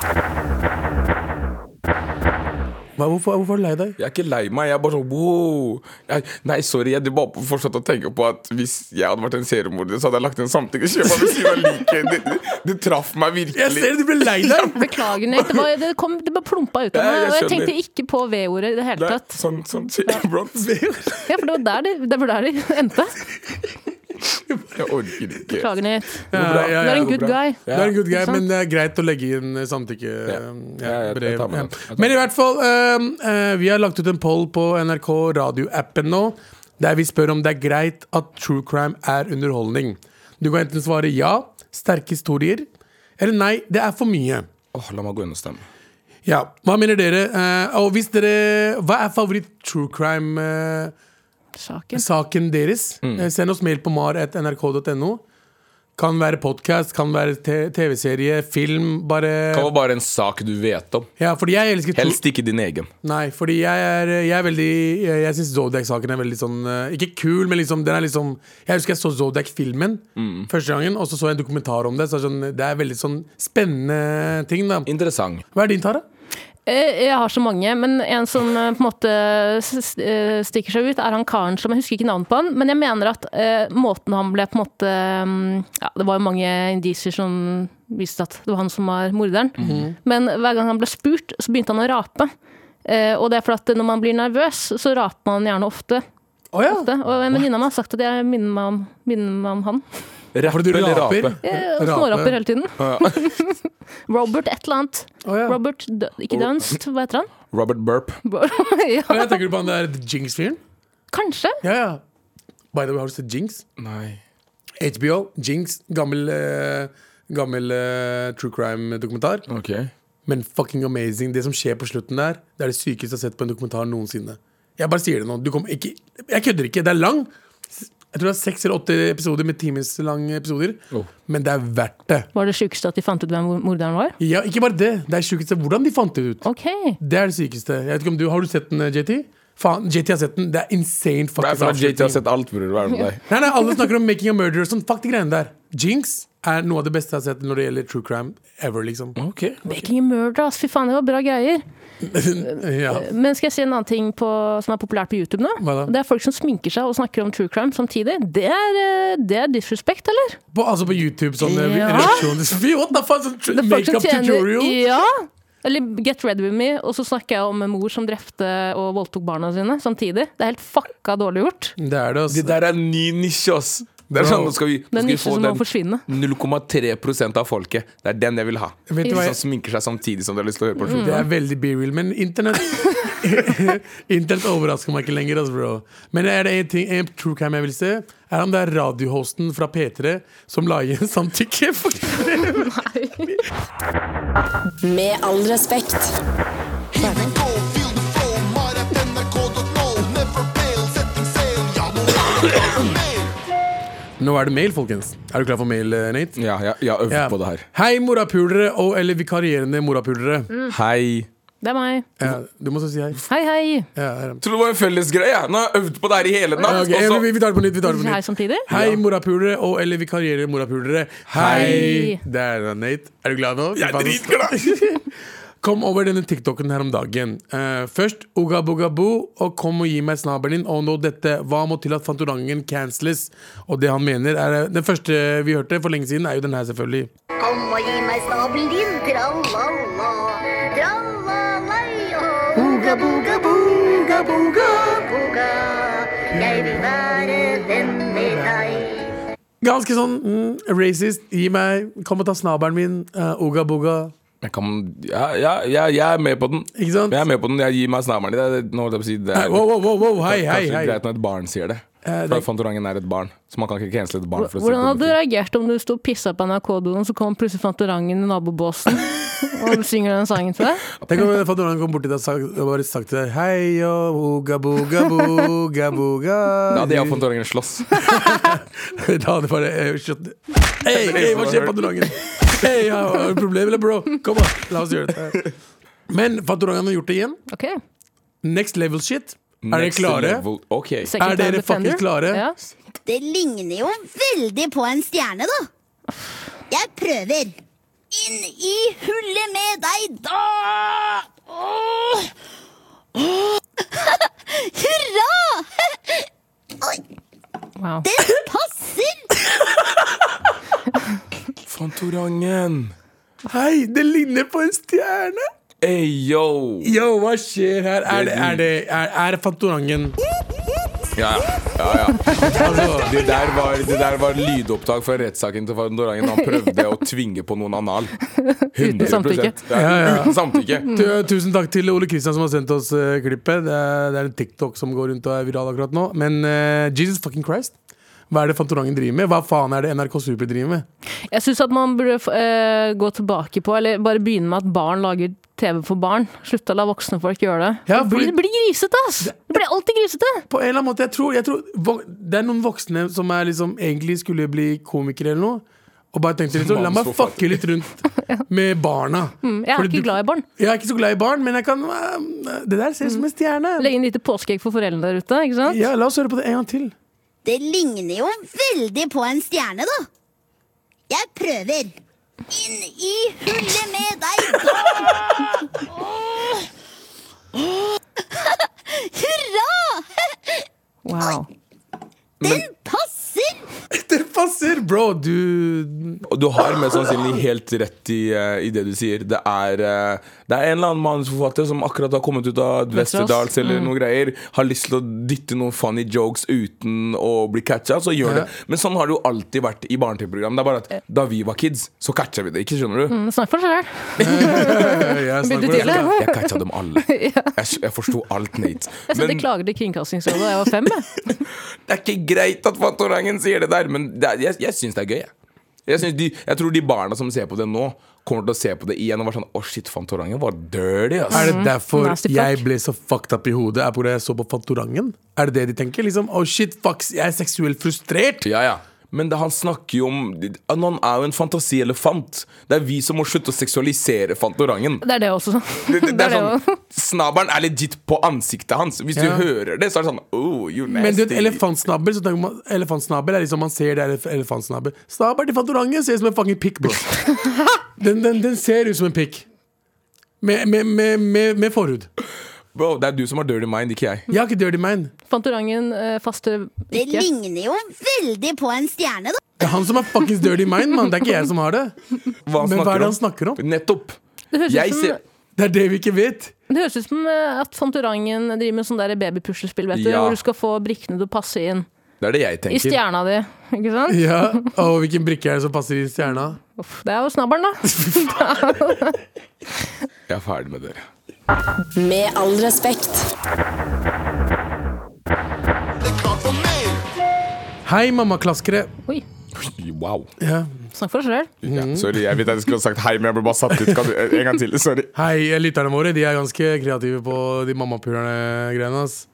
Hva, hvorfor, hvorfor er du lei deg?
Jeg er ikke lei meg. Jeg er bare sånn wow. jeg, Nei, sorry. Jeg bare fortsatte å tenke på at hvis jeg hadde vært en seriemorder, så hadde jeg lagt en samtykkeskjema ved siden av liket. Det, det, det traff meg
Jeg
virkelig.
ser du ble lei deg!
Beklager, Nate. Det bare, det kom, det bare plumpa ut av
Ja,
meg.
jeg
Og jeg
skjønner.
tenkte ikke på V-ordet i det hele
Nei,
tatt.
sånn, sånn skjer, bro.
Ja, for det var der det, det, var der det endte.
Jeg orker ikke.
Beklager, Nate.
Ja, ja, ja.
Du er en good guy.
Du er en good guy,
Ikke sant?
men det er greit å legge inn eh, samtykke. eh,
Ja,
ja,
jeg- jeg
brev,
tar
ja.
med det. Jeg tar
Men i
med
hvert fall, eh, eh, vi har lagt ut en poll på NRK radioappen nå, der vi spør om det er greit at true crime er underholdning. Du kan enten svare ja, sterke historier, eller nei, det er for mye.
Åh, la meg gå inn og stemme.
Ja, Hva mener dere? Eh, og hvis dere Hva er favoritt-true crime-saken
Saken.
Mm.
deres? Eh, send oss mail på mar.nrk.no. Kan være podkast, kan være te- TV-serie, film, bare
Det var bare en sak du vet om.
Ja, fordi jeg elsker to-
Helst ikke din egen.
Nei, fordi jeg er, jeg er veldig Jeg, jeg syns Zodiac-saken er veldig sånn eh, Ikke kul, men liksom, den er liksom Jeg husker jeg så Zodiac-filmen
Mm.
første gangen, og så så jeg en dokumentar om det. Så er det sånn, det er veldig sånn spennende ting, da.
Interessant.
Hva er din, Tara?
Eh, Jeg har så mange, men en som eh, på en måte s- s- eh, stikker seg ut, er han karen som Jeg husker ikke navnet på han, men jeg mener at eh, måten han ble på en måte mm, Ja, det var jo mange indisier som viste at det var han som var morderen, men hver gang han ble spurt, så begynte han å rape. Eh, og det er fordi at når man blir nervøs, så raper man gjerne ofte.
Å ja!
Det, og en venninne av meg har sagt at jeg minner meg om, minner meg om han.
Fordi
Rappe
du
eller
raper?
rape?
Jeg Småraper hele tiden. Robert et eller annet.
Å ja.
Robert Dø- Ikke Dunst, hva heter han?
Robert Burp.
Å ja,
ja,
tenker du på han der The Jinx-fyren?
kanskje.
Ja, ja. By the way, har du sett Jinx?
Nei.
HBO, Jinx, gammel, eh, gammel eh, true crime-dokumentar.
Ok.
Men fucking amazing. Det som skjer på slutten der, det er det sykeste jeg har sett på en dokumentar noensinne. Jeg bare sier det nå. Du kommer ikke Jeg kødder ikke. Det er lang. Jeg tror det er seks eller åtte episoder med timeslange episoder.
Oh.
Men det er verdt det.
Var det sjukeste at de fant ut hvem morderen var?
Ja, ikke bare det. Det er sjukeste hvordan de fant det ut.
OK.
Det er det sykeste. Jeg vet ikke om du Har du sett den, JT? Faen, JT har sett den. Det er insane
Det er
fucking
for at JT har
avslutning.
sett alt, bror. Hva er det med deg?
Nei, nei, alle snakker om making a murderer og sånn. Fuck de greiene der. Jinx er noe av det beste jeg har sett når det gjelder true crime ever, liksom.
Ok.
Making a murder, ass. Fy faen, det var bra greier.
ja.
Men skal jeg si en annen ting på, som er populært på YouTube nå?
Hva da?
Det er folk som sminker seg og snakker om true crime samtidig. Det er, eh, det er disrespect, eller?
På, altså på YouTube, sånn eh,
Ja.
reaksjoner Fy, What the fuck, sånn tr-
Det er folk som
makeup
tjener-
tutorial?
Ja. Eller Get Red With Me, og så snakker jeg om en mor som drepte og voldtok barna sine samtidig. Det er helt fucka dårlig gjort.
Det er det, altså.
Det der er en ny nisje, ass. Det er sånn, nå skal vi,
Det er
nå
en
skal vi
nisje
få
som må
den
forsvinne.
0,3 av folket. Det er den jeg vil ha.
Vet du hva
Som
jeg,
sminker seg samtidig som du har lyst til å høre på.
Mm.
en
det er veldig be-real, men internett Internett overrasker meg ikke lenger, altså, bro. Men er det en, ting, en true crime jeg vil se, er om det er radiohosten fra P3 som la igjen samtykke. for-
Med all respekt.
Here we go, feel the flow, might at NRK.no. Never fail, setting sail, ja, nå er det bare mail.
Nå er det mail, folkens. Er du klar for mail, eh, Nate?
film. Ja, jeg, jeg har øvd
Ja.
på det her.
Hei, morapulere og eller vikarierende morapulere.
Mm.
Hei.
Det er meg.
Ja, du må så si hei.
Hei, hei.
Ja, her.
Tror det var en felles greie. jeg. Nå har jeg øvd på det her i hele natt.
Ah, Ok,
og så-
vi, vi tar det på nytt. Vi tar det på
Hei
nytt.
samtidig.
Hei, morapulere, og eller vikarierende morapulere. Hei! Der er Nate. Er du glad nå?
Jeg er dritglad.
Kom over denne TikToken her om dagen. Eh, først Uga Buga Bu, og kom og gi meg snabelen din. Og nå dette. Hva må til at Fantorangen canceles? Og det han mener, er eh, Den første vi hørte for lenge siden, er jo den her, selvfølgelig.
Kom og gi meg snabelen din, tralala. Tralalai og boga, boga, boga, boga, boga. Jeg vil være venn med deg.
Ganske sånn mm, racist. Gi meg Kom og ta snabelen min. eh, Uga Buga.
Jeg, kan, ja, ja, ja, jeg er med på den.
Ikke sant?
Jeg er med på den, jeg gir meg snabelen i det. det- Nå holdt jeg på å si det er
Wow, wow, wow, wow. Hei, hei,
kanskje
hei.
greit når et barn sier det.
Eh,
For
det-
Fantorangen er et barn, så man kan ikke cancele et barn. For å se
Hvordan hadde du
komedie.
reagert om du sto og pissa på NRK-doen, så kom plutselig Fantorangen i nabobåsen og synger den sangen til deg?
Tenk om Fantorangen kom bort til deg og sagt- og bare sagt til deg Hei, og Uga Buga Buga Buga.
Da hadde jeg og Fantorangen slåss.
Da hadde bare eh, skjøtt Hei, hei, hva skjer, Fantorangen? Hei, ja, har du et problem, eller, bro? Kom, da. La oss gjøre dette. Men Fantorangen har gjort det igjen.
Ok,
Next level shit. Er dere
Next
klare?
level. Ok.
Second
Er dere
Time Defender.
faktisk klare?
Ja.
Det ligner jo veldig på en stjerne, da. Jeg prøver. Inn i hullet med deg, da! Åh! Åh! Hurra! Oi,
Wow.
det passer!
Fantorangen.
Hei, det ligner på en stjerne!
Ey, yo.
Yo, hva skjer her? Er det, er det, er, er det Fantorangen?
Ja, ja. ja. det, der var, det der var lydopptak fra rettssaken til Fantorangen. Han prøvde å tvinge på noen anal. 100
samtykke.
Ja, Uten samtykke.
Mm.
Tu- Tusen takk til Ole Kristian som har sendt oss eh, klippet. Det er, det er en TikTok som går rundt og er viral akkurat nå. Men eh, Jesus fucking Christ, hva er det Fantorangen driver med? Hva faen er det NRK Super driver med?
Jeg syns at man burde eh, gå tilbake på, eller bare begynne med at barn lager TV for barn. Slutte å la voksne folk gjøre det.
Ja,
det, blir,
fordi-
det blir grisete, ass! Det blir alltid grisete!
På en eller annen måte, jeg tror, jeg tror vo- Det er noen voksne som er liksom, egentlig skulle bli komikere eller noe. Og bare tenkte litt sånn, la meg
Mann, så
fucke litt rundt med barna.
Mm, Jeg er
Fordi
ikke
du-
glad i barn.
Jeg er ikke så glad i barn, men jeg kan eh, Det der ser ut som en stjerne.
Mm. Legg inn lite påskeegg for foreldrene der ute. ikke sant?
Ja, la oss høre på det en gang til.
Det ligner jo veldig på en stjerne, da. Jeg prøver. Inn i hullet med deg, da! Hurra!
Wow.
Den passer!
Det passer, bro! Du eh,
Og du har mest sannsynlig helt rett i, eh, i det du sier. Det er, eh, det er en eller annen manusforfatter som akkurat har kommet ut av Westerdals eller noe greier, har lyst til å dytte noen funny jokes uten å bli catcha, så gjør
Ja.
det. Men sånn har det jo alltid vært i barne-TV-program. Det er bare at da vi var kids, så catcha vi det ikke, skjønner du?
Men Snakk for deg selv.
Jeg
Begynte
snakker-
tidlig.
Jeg catcha dem alle. Jeg, jeg forsto alt, Nate.
Altså,
Jeg sendte
Men-
klager til Kringkastingsrådet da jeg var fem. jeg.
Det er ikke greit at Fantorangen sier det der, men det er, jeg, jeg syns det er gøy. Jeg. Jeg, synes de, jeg tror de barna som ser på det nå, kommer til å se på det igjen og være sånn Å, shit, Fantorangen var dirty, ass.
Er det derfor
Mm. Nasty fuck.
jeg ble så fucked up i hodet? Er på grunn av jeg så på Fantorangen? Er det det de tenker? Liksom, oh shit, fuck, jeg er seksuelt frustrert!
Ja, ja. Men det, han snakker jo om Han er jo en fantasielefant. Det er vi som må slutte å seksualisere Fantorangen.
Det er det også.
Det, det, det er
også.
sånn, Snabelen er legit på ansiktet hans. Hvis du
Ja.
hører det, så er det sånn Oh, you nasty.
Men du vet, elefantsnabel så tenker man, Elefantsnabel er liksom man ser det er elef- elefantsnabel. Snabelen til Fantorangen ser ut som en fucking pikk, bro. Den, den, den ser ut som en pikk. Med, med, med, med, med forhud.
Bro, det er du som har dirty mind, ikke jeg.
Jeg har ikke dirty mind.
Fantorangen eh, faster
Det
ikke.
ligner jo veldig på en stjerne, da.
Det er han som har fuckings dirty mind, mann. Det er ikke jeg som har det.
Hva
Men hva er det han snakker om?
Nettopp.
Det høres,
Jeg
ut som,
ser
Det er det vi ikke vet.
det høres ut som eh, at Fantorangen driver med sånn der babypuslespill, vet du,
Ja.
hvor du skal få brikkene til å passe inn
Det er det jeg
i
tenker.
stjerna di. Ikke sant?
Ja, Og hvilken brikke er det som passer i stjerna?
Uff, det er jo snabelen, da.
Jeg er ferdig med dere.
Med all respekt.
Det er klart for mer.
Hei, mammaklaskere.
Oi,
Wow.
Ja. Mm.
snakk for deg selv.
Ja, sorry, jeg vet jeg skulle ha sagt hei, men jeg ble bare satt ut. Kan du, en gang til, sorry.
Hei, lytterne våre. De er ganske kreative på de mammapulerne-greiene. ass.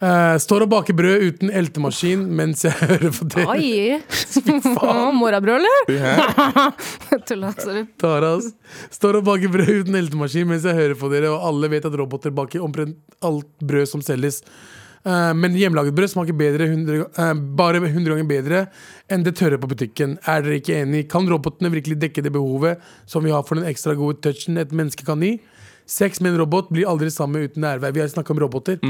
Eh, står og baker brød uten eltemaskin mens jeg hører på dere.
Oi! Å, Morabrød, eller? Tulla, sorry.
Tara, ass. Står og baker brød uten eltemaskin mens jeg hører på dere, og alle vet at roboter baker omtrent alt brød som selges. Eh, men hjemmelaget brød smaker bedre 100, ga- eh, bare 100 ganger bedre enn det tørre på butikken. Er dere ikke enig? Kan robotene virkelig dekke det behovet som vi har for den ekstra gode touchen et menneske kan gi? Sex med en robot blir aldri sammen uten nærvær. Vi har snakket om roboter.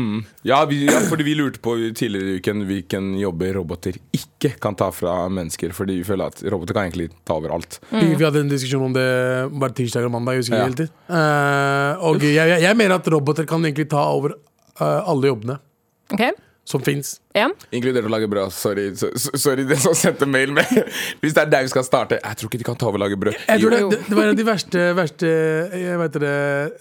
Ja, vi, ja, fordi vi lurte på tidligere i uken hvilken jobber roboter ikke kan ta fra mennesker. Fordi vi føler at roboter kan egentlig ta over alt.
Vi, vi hadde en diskusjon om det bare tirsdag eller mandag. Jeg husker
Ja.
ikke helt det. Eh, og jeg, jeg, jeg mener at roboter kan egentlig ta over eh, alle jobbene
OK.
som fins.
Ja.
Inkludert å lage brød. Sorry, so, so- sorry det som sendte mail med. Hvis det er der vi skal starte. Jeg tror ikke de kan ta over å lage brød.
Jeg tror det,
Jo.
det, det var en av de verste, verste jeg vet det,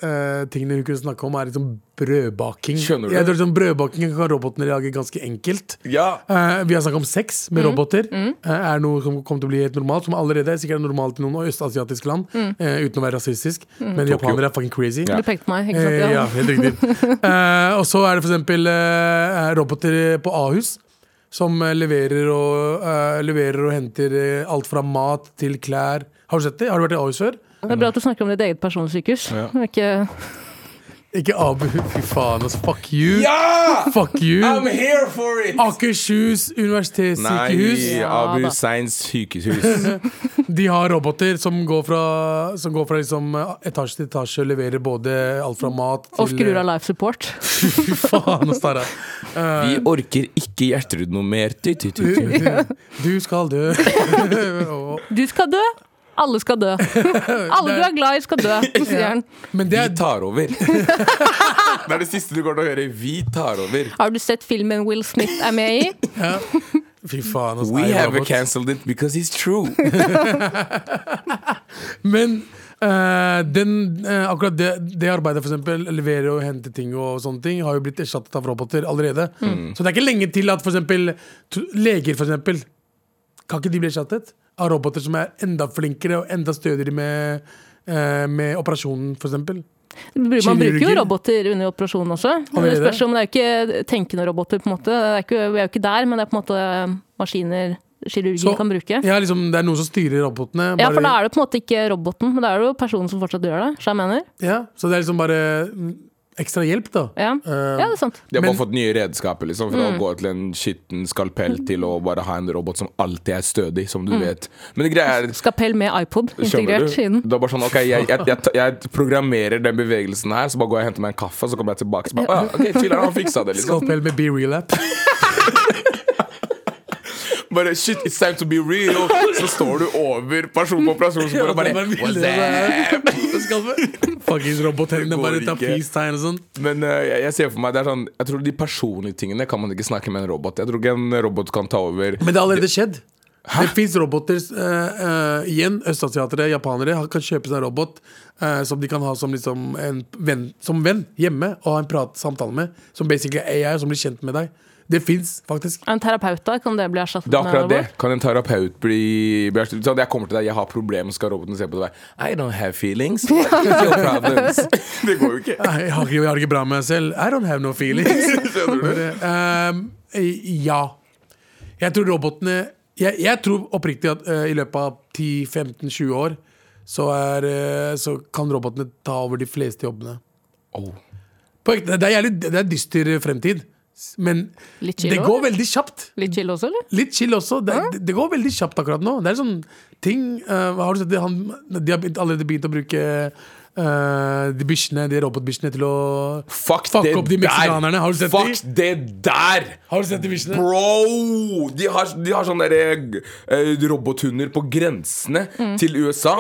eh, tingene hun kunne snakke om, er liksom brødbaking.
Skjønner du?
Jeg tror liksom Brødbaking kan robotene lage ganske enkelt.
Ja.
Eh, vi har snakket om sex med roboter. Eh, er noe som kommer til å bli helt normalt, som allerede er sikkert normalt i noen østasiatiske land. eh, uten å være rasistisk. Men japanere er fucking crazy.
Ja.
Du pekte på meg, ikke sant?
Eh, ja, helt riktig. Eh, og så er det for eksempel eh, roboter på Ahus. Som eh, leverer og, eh, leverer og henter eh, alt fra mat til klær. Har du sett det? Har du vært i Ahus før?
Det er bra at du snakker om ditt eget personsykehus.
Ja.
Ikke
Ikke Abu. Fy faen, altså. Fuck you.
Ja!
Fuck you.
I'm here for it!
Akershus universitetssykehus.
Nei, Abu Seins sykehus.
De har roboter som går fra, som går fra liksom eh, etasje til etasje og leverer både alt fra mat til eh,
Og skrur av life support.
Fy faen, ass, Tara.
Vi orker ikke Gjertrud noe mer. Du, du, du, du.
Du skal dø. og,
Du skal dø! Alle skal dø. Alle du er glad i, skal dø, sier han.
men det er
Vi tar over. det er det siste du kommer til å høre. Vi tar over.
Har du sett filmen Will Smith er med i?
Fy faen, altså.
We
Nei,
have
robot.
cancelled it because it's true.
Men eh, den, eh, akkurat det, det arbeidet, for eksempel, levere og hente ting og sånne ting, har jo blitt erstattet av roboter allerede. Så det er ikke lenge til at for eksempel t- leger, for eksempel, kan ikke de bli erstattet av roboter som er enda flinkere og enda stødigere med, eh, med operasjonen, for eksempel?
Man bruker jo
Kirurger.
roboter under operasjonen også. Men det
Allerede?
spørs om det er jo ikke tenkende roboter, på en måte. Det er ikke, vi er jo ikke der, men det er på en måte eh, maskiner kirurgi
Så-
kan bruke.
Ja, liksom, det er noen som styrer robotene.
Ja, for
bare-
da er det på en måte ikke roboten, men da er det jo personen som fortsatt gjør det. Så jeg mener.
Ja, så det er liksom bare mm, ekstra hjelp, da.
Ja.
Eh,
ja, det er sant.
De har
Men-
bare fått nye redskaper, liksom. Fra å gå til en skitten skalpell til å bare ha en robot som alltid er stødig, som du vet. Men det greia er
Skapell med iPod
Skjønner
integrert
du?
siden.
Det var bare sånn, ok, jeg, jeg, jeg, jeg programmerer den bevegelsen her, så bare går jeg og henter meg en kaffe, så kommer jeg tilbake så bare, ah, ok, chiller, han fiksa det liksom.
Skalpell med Be Real App.
Bare shit, it's time to be real. Så står du over person på operasjon, så bare, bare what's up?
Fuckings robothendene
Det
bare
går
tar
ikke.
peace-tegn og sånn.
Men eh, jeg, jeg ser for meg, det er sånn, jeg tror de personlige tingene kan man ikke snakke med en robot. Jeg tror ikke en robot kan ta over.
Men det har allerede skjedd. Det fins roboter eh, eh, igjen. Østasiatere, japanere har- kan kjøpe seg en robot eh, som de kan ha som, liksom en venn, som venn hjemme og ha en prat, samtale med. Som basically er AI, som blir kjent med deg. Det fins faktisk.
En terapeut, da? Kan det bli erstattet
Det er akkurat det.
robot?
Kan en terapeut bli, bli erstattet? sånn, Jeg kommer til deg, jeg har problemer, skal roboten se på deg. I don't have feelings. but it's your problems. Det går jo ikke.
Nei, Jeg har ikke, jeg har det ikke bra med meg selv. I don't have no feelings. Ehm, ja. Jeg tror robotene Jeg, jeg tror oppriktig at eh, i løpet av 10-15-20 år så, er, eh, så kan robotene ta over de fleste jobbene.
Oh.
På ekte, det er jævlig det er dyster fremtid. Men
Litt chill
det
også,
går veldig kjapt.
Litt chill også, eller?
Litt chill også. Det, det går veldig kjapt akkurat nå. Det er sånn ting eh, Har du sett det? Han, de har begynt, allerede begynt å bruke eh, de bikkjene, de robotbikkjene, til å
Fuck,
fucke
det
opp de
der.
meksikanerne. Har du sett
Fuck
de?
det der!
Har du sett de bikkjene?
Bro! De har, de har sånne der, eh, robothunder på grensene til USA.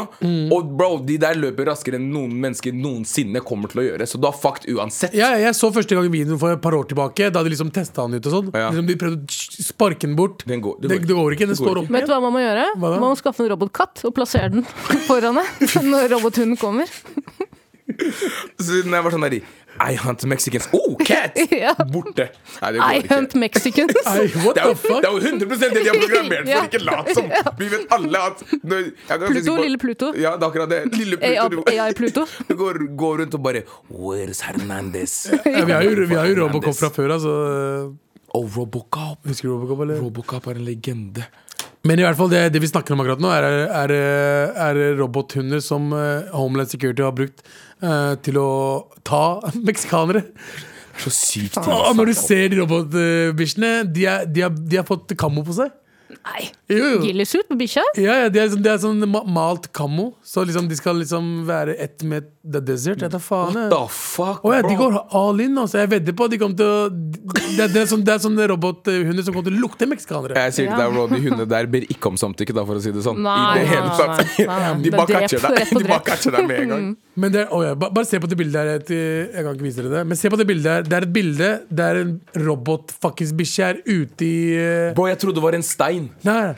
Og bro, de der løper raskere enn noen mennesker noensinne kommer til å gjøre. Så du har fucked uansett.
Ja, jeg så første gang videoen for et par år tilbake, da de liksom testa han ut og sånn.
Ja.
Liksom de prøvde å sparke den bort.
Den går-
det,
det
det,
går ikke.
går ikke. Den
Det går
står
ikke.
opp
Vet du hva man må gjøre?
Hva da?
Man må skaffe en robotkatt og plassere den foran deg når robothunden kommer.
Siden jeg var sånn der I hunt Mexicans. Oh, cat!
Ja.
Borte. Nei, det
I
går ikke.
hunt Mexicans.
Nei, what
Det er,
the
jo,
fuck?
det er jo 100 det de har programmert
Ja.
for, ikke lat som! Vi vet alle at når, jeg kan si
Pluto,
på-
lille Pluto.
Ja, det er akkurat det. Lille
AI
Pluto.
AI Pluto.
Du går, går rundt og bare Where's Hernandez?
Ja, vi har jo, vi har jo Robocop fra før, altså.
Oh, Robocop.
Husker du Robocop, eller?
Robocop er en legende.
Men i hvert fall det, det vi snakker om akkurat nå, er, er, er robothunder som eh, Homeland Security har brukt eh, til å ta meksikanere.
Så sykt.
Og når du ser de robotbikkjene, de, er- de, har- de har fått kammo på seg.
Nei,
Jo, jo.
Gillisut på bikkja?
Ja, ja, de er, sånn- de er sånn ma- malt kammo. Så liksom, de skal liksom være ett med the desert. Jeg tar faen. jeg.
The fuck,
Å ja, de
bro.
går all in, altså. Jeg vedder på at de kommer til å Det, det er sånn- det er sånne robothunder som kommer til å lukte meksikanere.
Jeg sier til deg, bro, De hundene der ber ikke om samtykke, da, for å si det sånn.
Nei,
I det
nei,
hele
nei,
tatt.
nei, nei, nei.
De bare
Det er drept,
catcher deg
rett på
De bare
drept. Mm.
catcher deg med en gang.
Men det, å ja, ba- bare se på det bildet her. Jeg, jeg kan ikke vise dere det. Men se på det bildet her. Det er et bilde der en robot-fuckings bikkje er ute i eh,
Bro, jeg trodde det var en stein.
Nei, nei.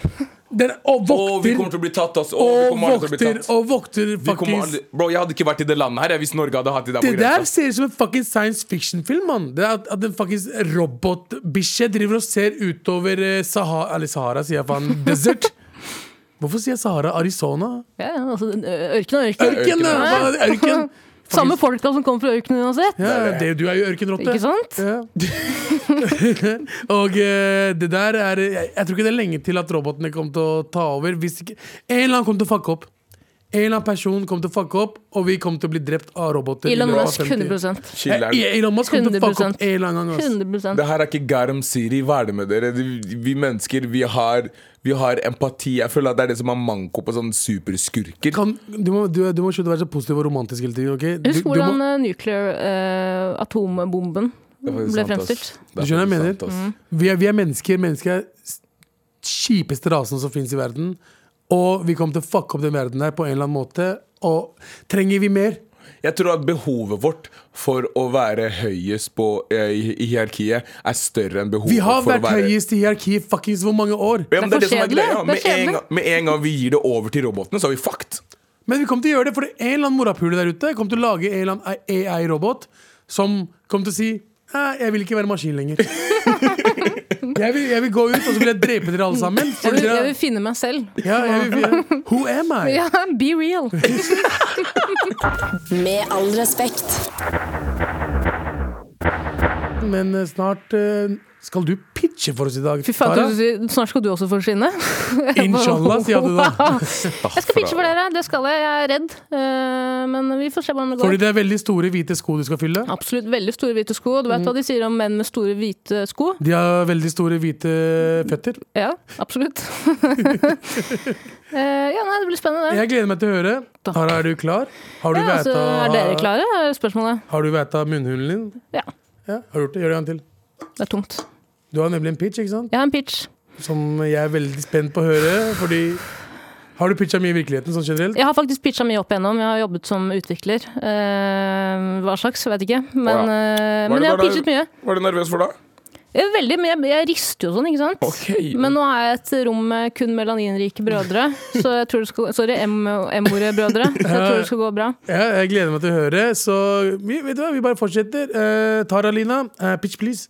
Den og
Å, vi
vokter
kommer til å bli tatt, ass. Å, vi
og
kommer aldri til å bli
vokter
tatt.
og vokter
Vi kommer
fuckings
aldri, bro, jeg hadde ikke vært i det landet her jeg, hvis Norge hadde hatt de der
Det
på
der
grensa.
ser ut som en fuckings science fiction-film, mann. Det er At, at en fuckings robotbikkje driver og ser utover eh, Sahara Eller Sahara, sier jeg faen. Desert. Hvorfor sier jeg Sahara? Arizona?
Ja, ja, altså, ørken og ørken.
Ørken!
Ørken,
ja.
ja.
Hva- Ørken.
Samme folka som kommer fra ørkenen uansett.
Ja, det, du er jo ørkenrotte.
Ikke sant?
Ja. og eh, det der er jeg, jeg tror ikke det er lenge til at robotene kommer til å ta over. Hvis ikke, en eller annen kommer til å fucke opp. En eller annen person kommer til å fucke opp, og vi kommer til å bli drept av roboter. i
Elon
løpet av
Musk
50.
100
Chiller'n.
Eh, Elon Musk kommer til å fucke
100%.
opp en eller annen gang. ass.
100
Det her er ikke Garam Siri. Hva er det med dere? De- Vi mennesker, vi har, vi har empati. Jeg føler at det er det som er manko på sånne superskurker.
Kan, du, må, du, du må slutte å være så positiv og romantisk hele tiden. ok? Du,
Husk
du,
hvordan
må,
eh, nuclear eh, atombomben
Det er faktisk
ble
sant, ass.
fremstilt.
Det er
Du skjønner hva jeg
faktisk sant, ass.
Mm. vi, er, vi er mennesker. Mennesker er s- kjipeste rasen som fins i verden. Og vi kommer til å fucke opp den verden her på en eller annen måte. Og trenger vi mer?
Jeg tror at behovet vårt for å være høyest på, eh, i, i hierarkiet er større enn behovet
Vi har
for å
vært
være
høyest i hierarkiet i fuckings hvor mange år?
ja, men det er det som er
Det er for
greia.
kjedelig. Det
Med
er
en,
kjedelig.
gang, med en gang vi gir det over til robotene, så er vi fucked.
Men vi kommer til å gjøre det, for det er en eller annen morapule der ute kommer til å lage en eller annen AI-robot som kommer til å si Nei, jeg vil ikke være maskin lenger. jeg, vil, jeg vil gå ut, og så vil jeg drepe dere alle sammen.
Jeg
Fordi
vil, jeg
dere,
vil finne meg selv.
ja, jeg vil, ja. Who am I?
Ja, be real!
Med all respekt.
Men eh, snart eh, Skal du pitche for oss i dag?
Fy faen,
Tara?
trodde du skulle si, snart skal du også forsvinne.
Inshallah, sier du da.
Wow. Jeg skal pitche for dere, det skal jeg. Jeg er redd. Eh, Men vi får se hvordan det går.
Fordi det er veldig store hvite sko du skal fylle.
Absolutt. Veldig store hvite sko. Du
Mhm.
vet hva de sier om menn med store hvite sko?
De har veldig store hvite føtter.
Ja, absolutt. Eh, ja, nei, det blir spennende.
Jeg gleder meg til å høre.
Takk.
Tara, er du klar? Har du
Ja, altså, er dere
væta
klare, er spørsmålet?
Har du væta munnhulen din?
Ja.
Ja, har du gjort det? Gjør det en gang til.
Det er tungt.
Du har nemlig en pitch, ikke sant?
Jeg har en pitch.
Som jeg er veldig spent på å høre. Fordi Har du pitcha mye i virkeligheten sånn generelt?
Jeg har faktisk pitcha mye opp igjennom. Jeg har jobbet som utvikler. Eh, hva slags, jeg vet ikke. Men,
Å ja.
eh, men
Var det
jeg har
bare-
pitchet mye.
Var du nervøs for da?
Jeg er Veldig, men jeg, jeg rister jo sånn, ikke sant?
Ok.
Men nå er jeg i et rom med kun melaninrike brødre. Så jeg tror det skal, sorry, M- M-ordet brødre. Så jeg tror det skal gå bra.
Ja, jeg gleder meg til å høre. Så vi, vet du hva, vi bare fortsetter. Eh, Tara Lina, eh, pitch please.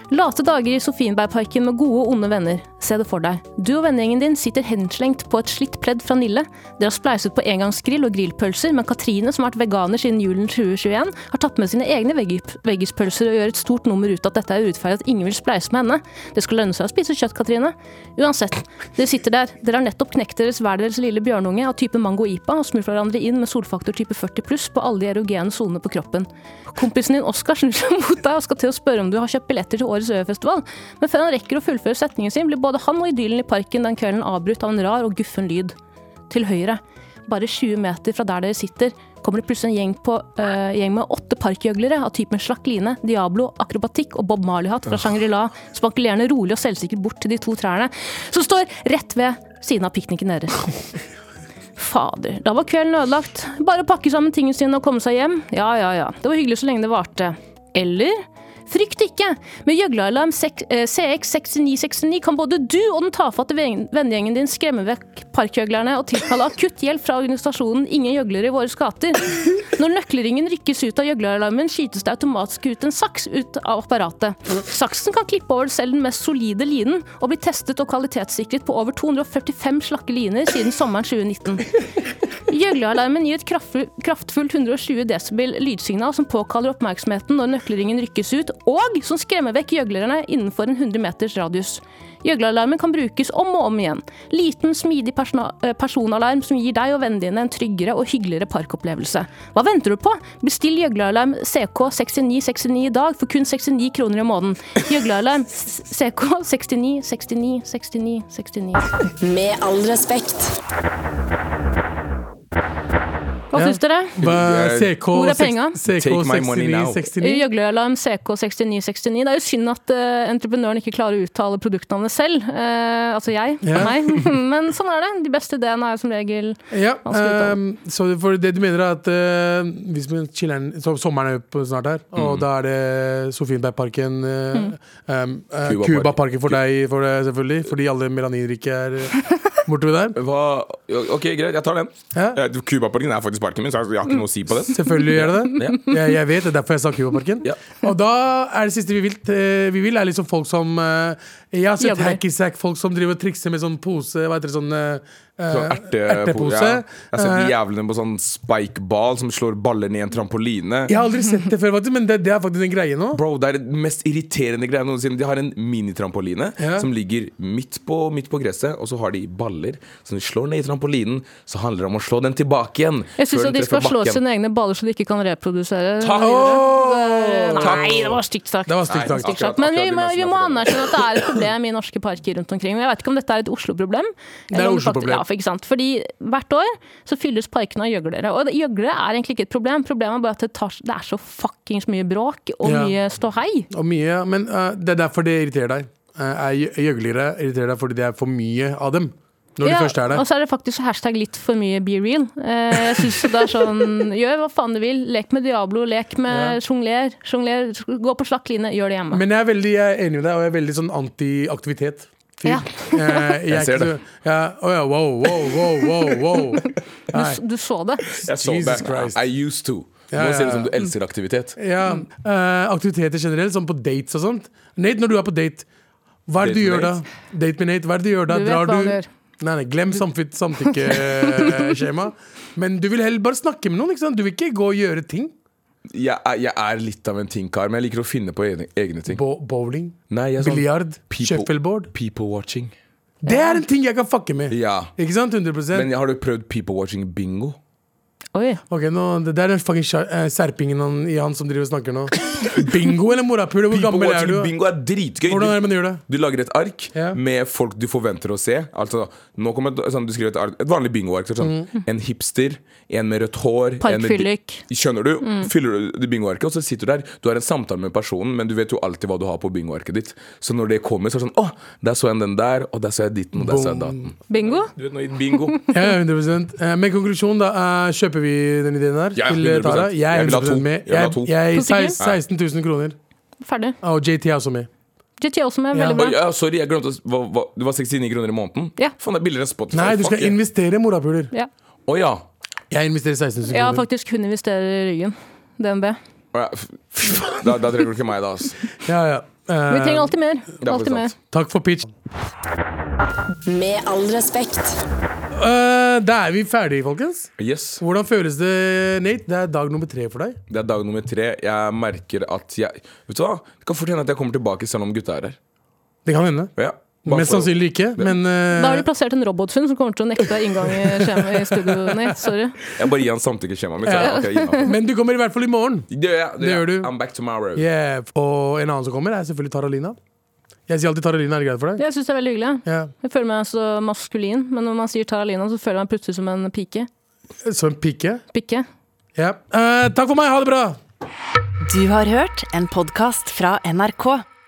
Late dager i Sofienbergparken med gode og onde venner. Se det for deg. Du og vennegjengen din sitter henslengt på et slitt pledd fra Nille. Dere har spleiset på engangsgrill og grillpølser, men Katrine, som har vært veganer siden julen 2021, har tatt med sine egne veggi- veggispølser og gjør et stort nummer ut av at dette er urettferdig at ingen vil spleise med henne. Det skal lønne seg å spise kjøtt, Katrine. Uansett, dere sitter der. Dere har nettopp knekt deres hver deres lille bjørnunge av type mango-ipa og smurt hverandre inn med solfaktor type 40 pluss på alle de erogene sonene på kroppen. Kompisen din Oskar snur seg mot deg og skal til å spørre om du har kjøpt billetter til årets Øyafestival, men før han rekker å fullføre setningen sin, blir både han og idyllen i parken den kvelden avbrutt av en rar og guffen lyd. Til høyre, bare 20 meter fra der dere sitter, kommer det plutselig en gjeng, på, eh, gjeng med åtte parkgjøglere av typen slakk line, Diablo, akrobatikk og Bob Marley-hatt fra Shangri-La, spankulerende rolig og selvsikkert bort til de to trærne som står rett ved siden av pikniken deres. Fader, da var kvelden ødelagt. Bare å pakke sammen tingene sine og komme seg hjem. Ja, ja, ja. Det var hyggelig så lenge det varte. Eller? Frykt ikke! Med gjøglealarm sek- eh, CX6969 kan både du og den tafatte ven- vennegjengen din skremme vekk parkgjøglerne og tilkalle akutt hjelp fra organisasjonen Ingen gjøglere i våre gater. Når nøkkelringen rykkes ut av gjøgleralarmen, skytes det automatisk ut en saks ut av apparatet. Saksen kan klippe over selv den mest solide linen, og bli testet og kvalitetssikret på over 245 slakke liner siden sommeren 2019. Gjøglealarmen gir et kraftfu- kraftfullt 120 desibel lydsignal som påkaller oppmerksomheten når nøkkelringen rykkes ut, og som skremmer vekk gjøglerne innenfor en 100 meters radius. Gjøglealarmen kan brukes om og om igjen. Liten, smidig persona- eh, personalarm som gir deg og vennene dine en tryggere og hyggeligere parkopplevelse. Hva venter du på? Bestill gjøglealarm CK6969 i dag for kun 69 kroner i måneden. Gjøglealarm CK69696969.
Med all respekt.
Hva
Ja.
syns dere?
Hva- CK,
Hvor er penga?
Take my money now.
CK6969.
Gjøglealarm CK6969. Det er jo synd at eh, entreprenøren ikke klarer å uttale produktnavnet selv. Eh, altså jeg.
Ja.
Meg. Men sånn er det. De beste ideene er jo som regel
Ja,
Han skal ut av
ehm, så det- for det du mener er at eh, hvis man chiller'n så Sommeren er jo på snart her, og
Mm.
da er det Sofienbergparken eh,
Mm.
ehm, eh,
Cuba
Cuba-parken for deg, for deg selvfølgelig, fordi alle melaninrike er eh, borte ved der.
Hva? Ok, greit, jeg tar den.
Ja, Mm,
Eh, Cubaparken er faktisk parken min, så jeg har ikke noe å si på den.
selvfølgelig gjør det det.
Ja.
Jeg, jeg vet, det er derfor jeg sa Cuba-parken.
Ja.
Og da er det siste vi vil. eh, Vi vil er liksom folk som eh, Jeg har sett
Jobber.
hackysack-folk som driver og trikser med sånn pose, hva heter det, sånn eh,
Sånn
eh,
erte,
ertepose.
Ja. Jeg har sett
Eh,
de jævlene på sånn spikeball som slår baller ned i en trampoline.
Jeg har aldri sett det før, faktisk, men det, det er faktisk en greie nå.
Bro, Det er det mest irriterende greia noensinne. De har en minitrampoline
Ja.
som ligger midt på, midt på gresset, og så har de baller som de slår ned i trampolinen. Så handler det om å slå den tilbake igjen.
Jeg syns
før den
de skal
treffer
slå
bakken.
sine egne baller så de ikke kan reprodusere.
Takk!
Eh,
Takk.
Nei, det var stygt sagt.
Det var stygt
Nei,
sagt.
akkurat- akkurat
Men vi
de
må,
mest
vi må
naturlige.
anerkjenne at det er et problem i norske parker rundt omkring. Men jeg vet ikke om dette er et Oslo-problem.
er
eller om
Oslo-problem.
faktisk- Ja, for ikke sant. Fordi hvert år så fylles parkene av gjøglere. Og det- gjøglere er egentlig ikke et problem, problemet er bare at det, tar, det er så fuckings mye bråk og
Ja.
mye ståhei.
Og mye, men eh, det er derfor det irriterer deg. Eh, er gjø- Gjøglere irriterer deg fordi det er for mye av dem. Når de først er der.
og så er det faktisk hashtag litt for mye be real. Eh, jeg synes det er sånn Gjør hva faen du vil. Lek med Diablo, lek med sjongler. Sjongler, gå på slakk line, gjør det hjemme.
Men jeg er veldig jeg er enig med deg, og jeg er veldig sånn anti-aktivitet.
Ja.
Jeg ser det.
Ja, å ja, wow, wow, wow, wow, wow. Nei.
Du, du så det.
Jeg så
Jesus
det.
Christ.
I used to.
Ja,
Nå
ja,
ser det ut
ja.
som du elsker aktivitet.
Ja, eh, aktiviteter generelt, sånn på dates og sånt. Nate, når du er på date, hva er det
Date
du
med
gjør da?
Nate?
Date med Nate, hva er det du gjør da?
Du vet hva han gjør.
Nei, nei, Glem samtykke- samtykkeskjema. Men du vil heller bare snakke med noen. ikke sant? Du vil ikke gå og gjøre ting.
Jeg, er- jeg er litt av en tingkar, men jeg liker å finne på egne, egne ting.
Bo bowling,
Nei, jeg er sånn-
biljard,
People-
shuffleboard.
People watching.
Det er en ting jeg kan fucke med.
Ja.
Ikke sant? 100
Men har du prøvd people watching bingo?
Oi.
Ok, nå, Det det er den fucking skjer- eh, serpingen han, i han som driver og snakker nå. Bingo eller morapule? Hvor
People
gammel er
watching
du?
bingo er dritgøy.
Hvordan er det man gjør det?
Du lager et ark
Ja.
med folk du forventer å se. Altså, nå kommer et- sånn, Du skriver et, ark, et vanlig bingoark. så Sånn,
Mm.
En hipster, en med rødt hår en med di-
Parkfyllik.
Skjønner du? Fyller du det bingoarket, og så sitter du der. Du har en samtale med personen, men du vet jo alltid hva du har på bingoarket ditt. Så når det kommer, så er det sånn Å, der så jeg den der, og der så jeg ditten, og der så jeg datten.
Bingo?
Du vet nå, i bingo.
Ja, ja, 100 eh, Men konklusjon, da. eh, kjøper vi den ideen her
Ja,
til eh,
100%.
Tara? Jeg er
Jeg vil ha
100
to.
med.
Jeg vil ha
Jeg,
to.
jeg,
To stykker?
16 000 kroner.
Ferdig.
Ah, Og JT er også med.
JT også med.
Ja.
Veldig
Oi,
bra.
ja, sorry, jeg glemte å s- hva, hva, Det var 69 kroner i måneden?
Ja.
Faen, det er billigere enn Spotify.
Nei, du
Fuck
skal
yeah.
investere i morapuler.
Ja.
Å ja.
Jeg investerer 16 000
Jeg har
kroner.
faktisk kun investerer i ryggen. DNB.
Å ja. F- Da, da trenger du ikke meg, da. ass.
Ja, ja. Eh,
Vi trenger alltid mer.
Det er
Alltid
faktisk
mer.
sant.
takk for pitch.
Med all respekt.
Eh, da er vi ferdige, folkens.
Yes.
Hvordan føles det, Nate? Det er dag nummer tre for deg.
Det er dag nummer tre. Jeg merker at jeg Vet du hva? Det kan fort hende at jeg kommer tilbake selv om gutta er her.
Det kan hende.
Ja. Bare
Mest
for-
sannsynlig ikke, men eh,
Da har de plassert en robotfunn som kommer til å nekte inngang i skjema i studio. Nate. Sorry.
Jeg bare gir han samtykkeskjemaet mitt. så er jeg, ok, innenfor.
men du kommer i hvert fall i morgen.
Det gjør jeg.
Det gjør
jeg.
du.
I'm back tomorrow.
Yeah. Og en annen som kommer, er selvfølgelig Taralina. Jeg sier alltid Taralina. Er det greit for deg?
Jeg syns det er veldig hyggelig.
Ja.
Jeg føler meg så maskulin, men når man sier Taralina, så føler jeg meg plutselig som en pike.
Som en pike.
Pikke.
Ja. Eh, takk for meg. Ha det bra.
Du har hørt en podkast fra NRK.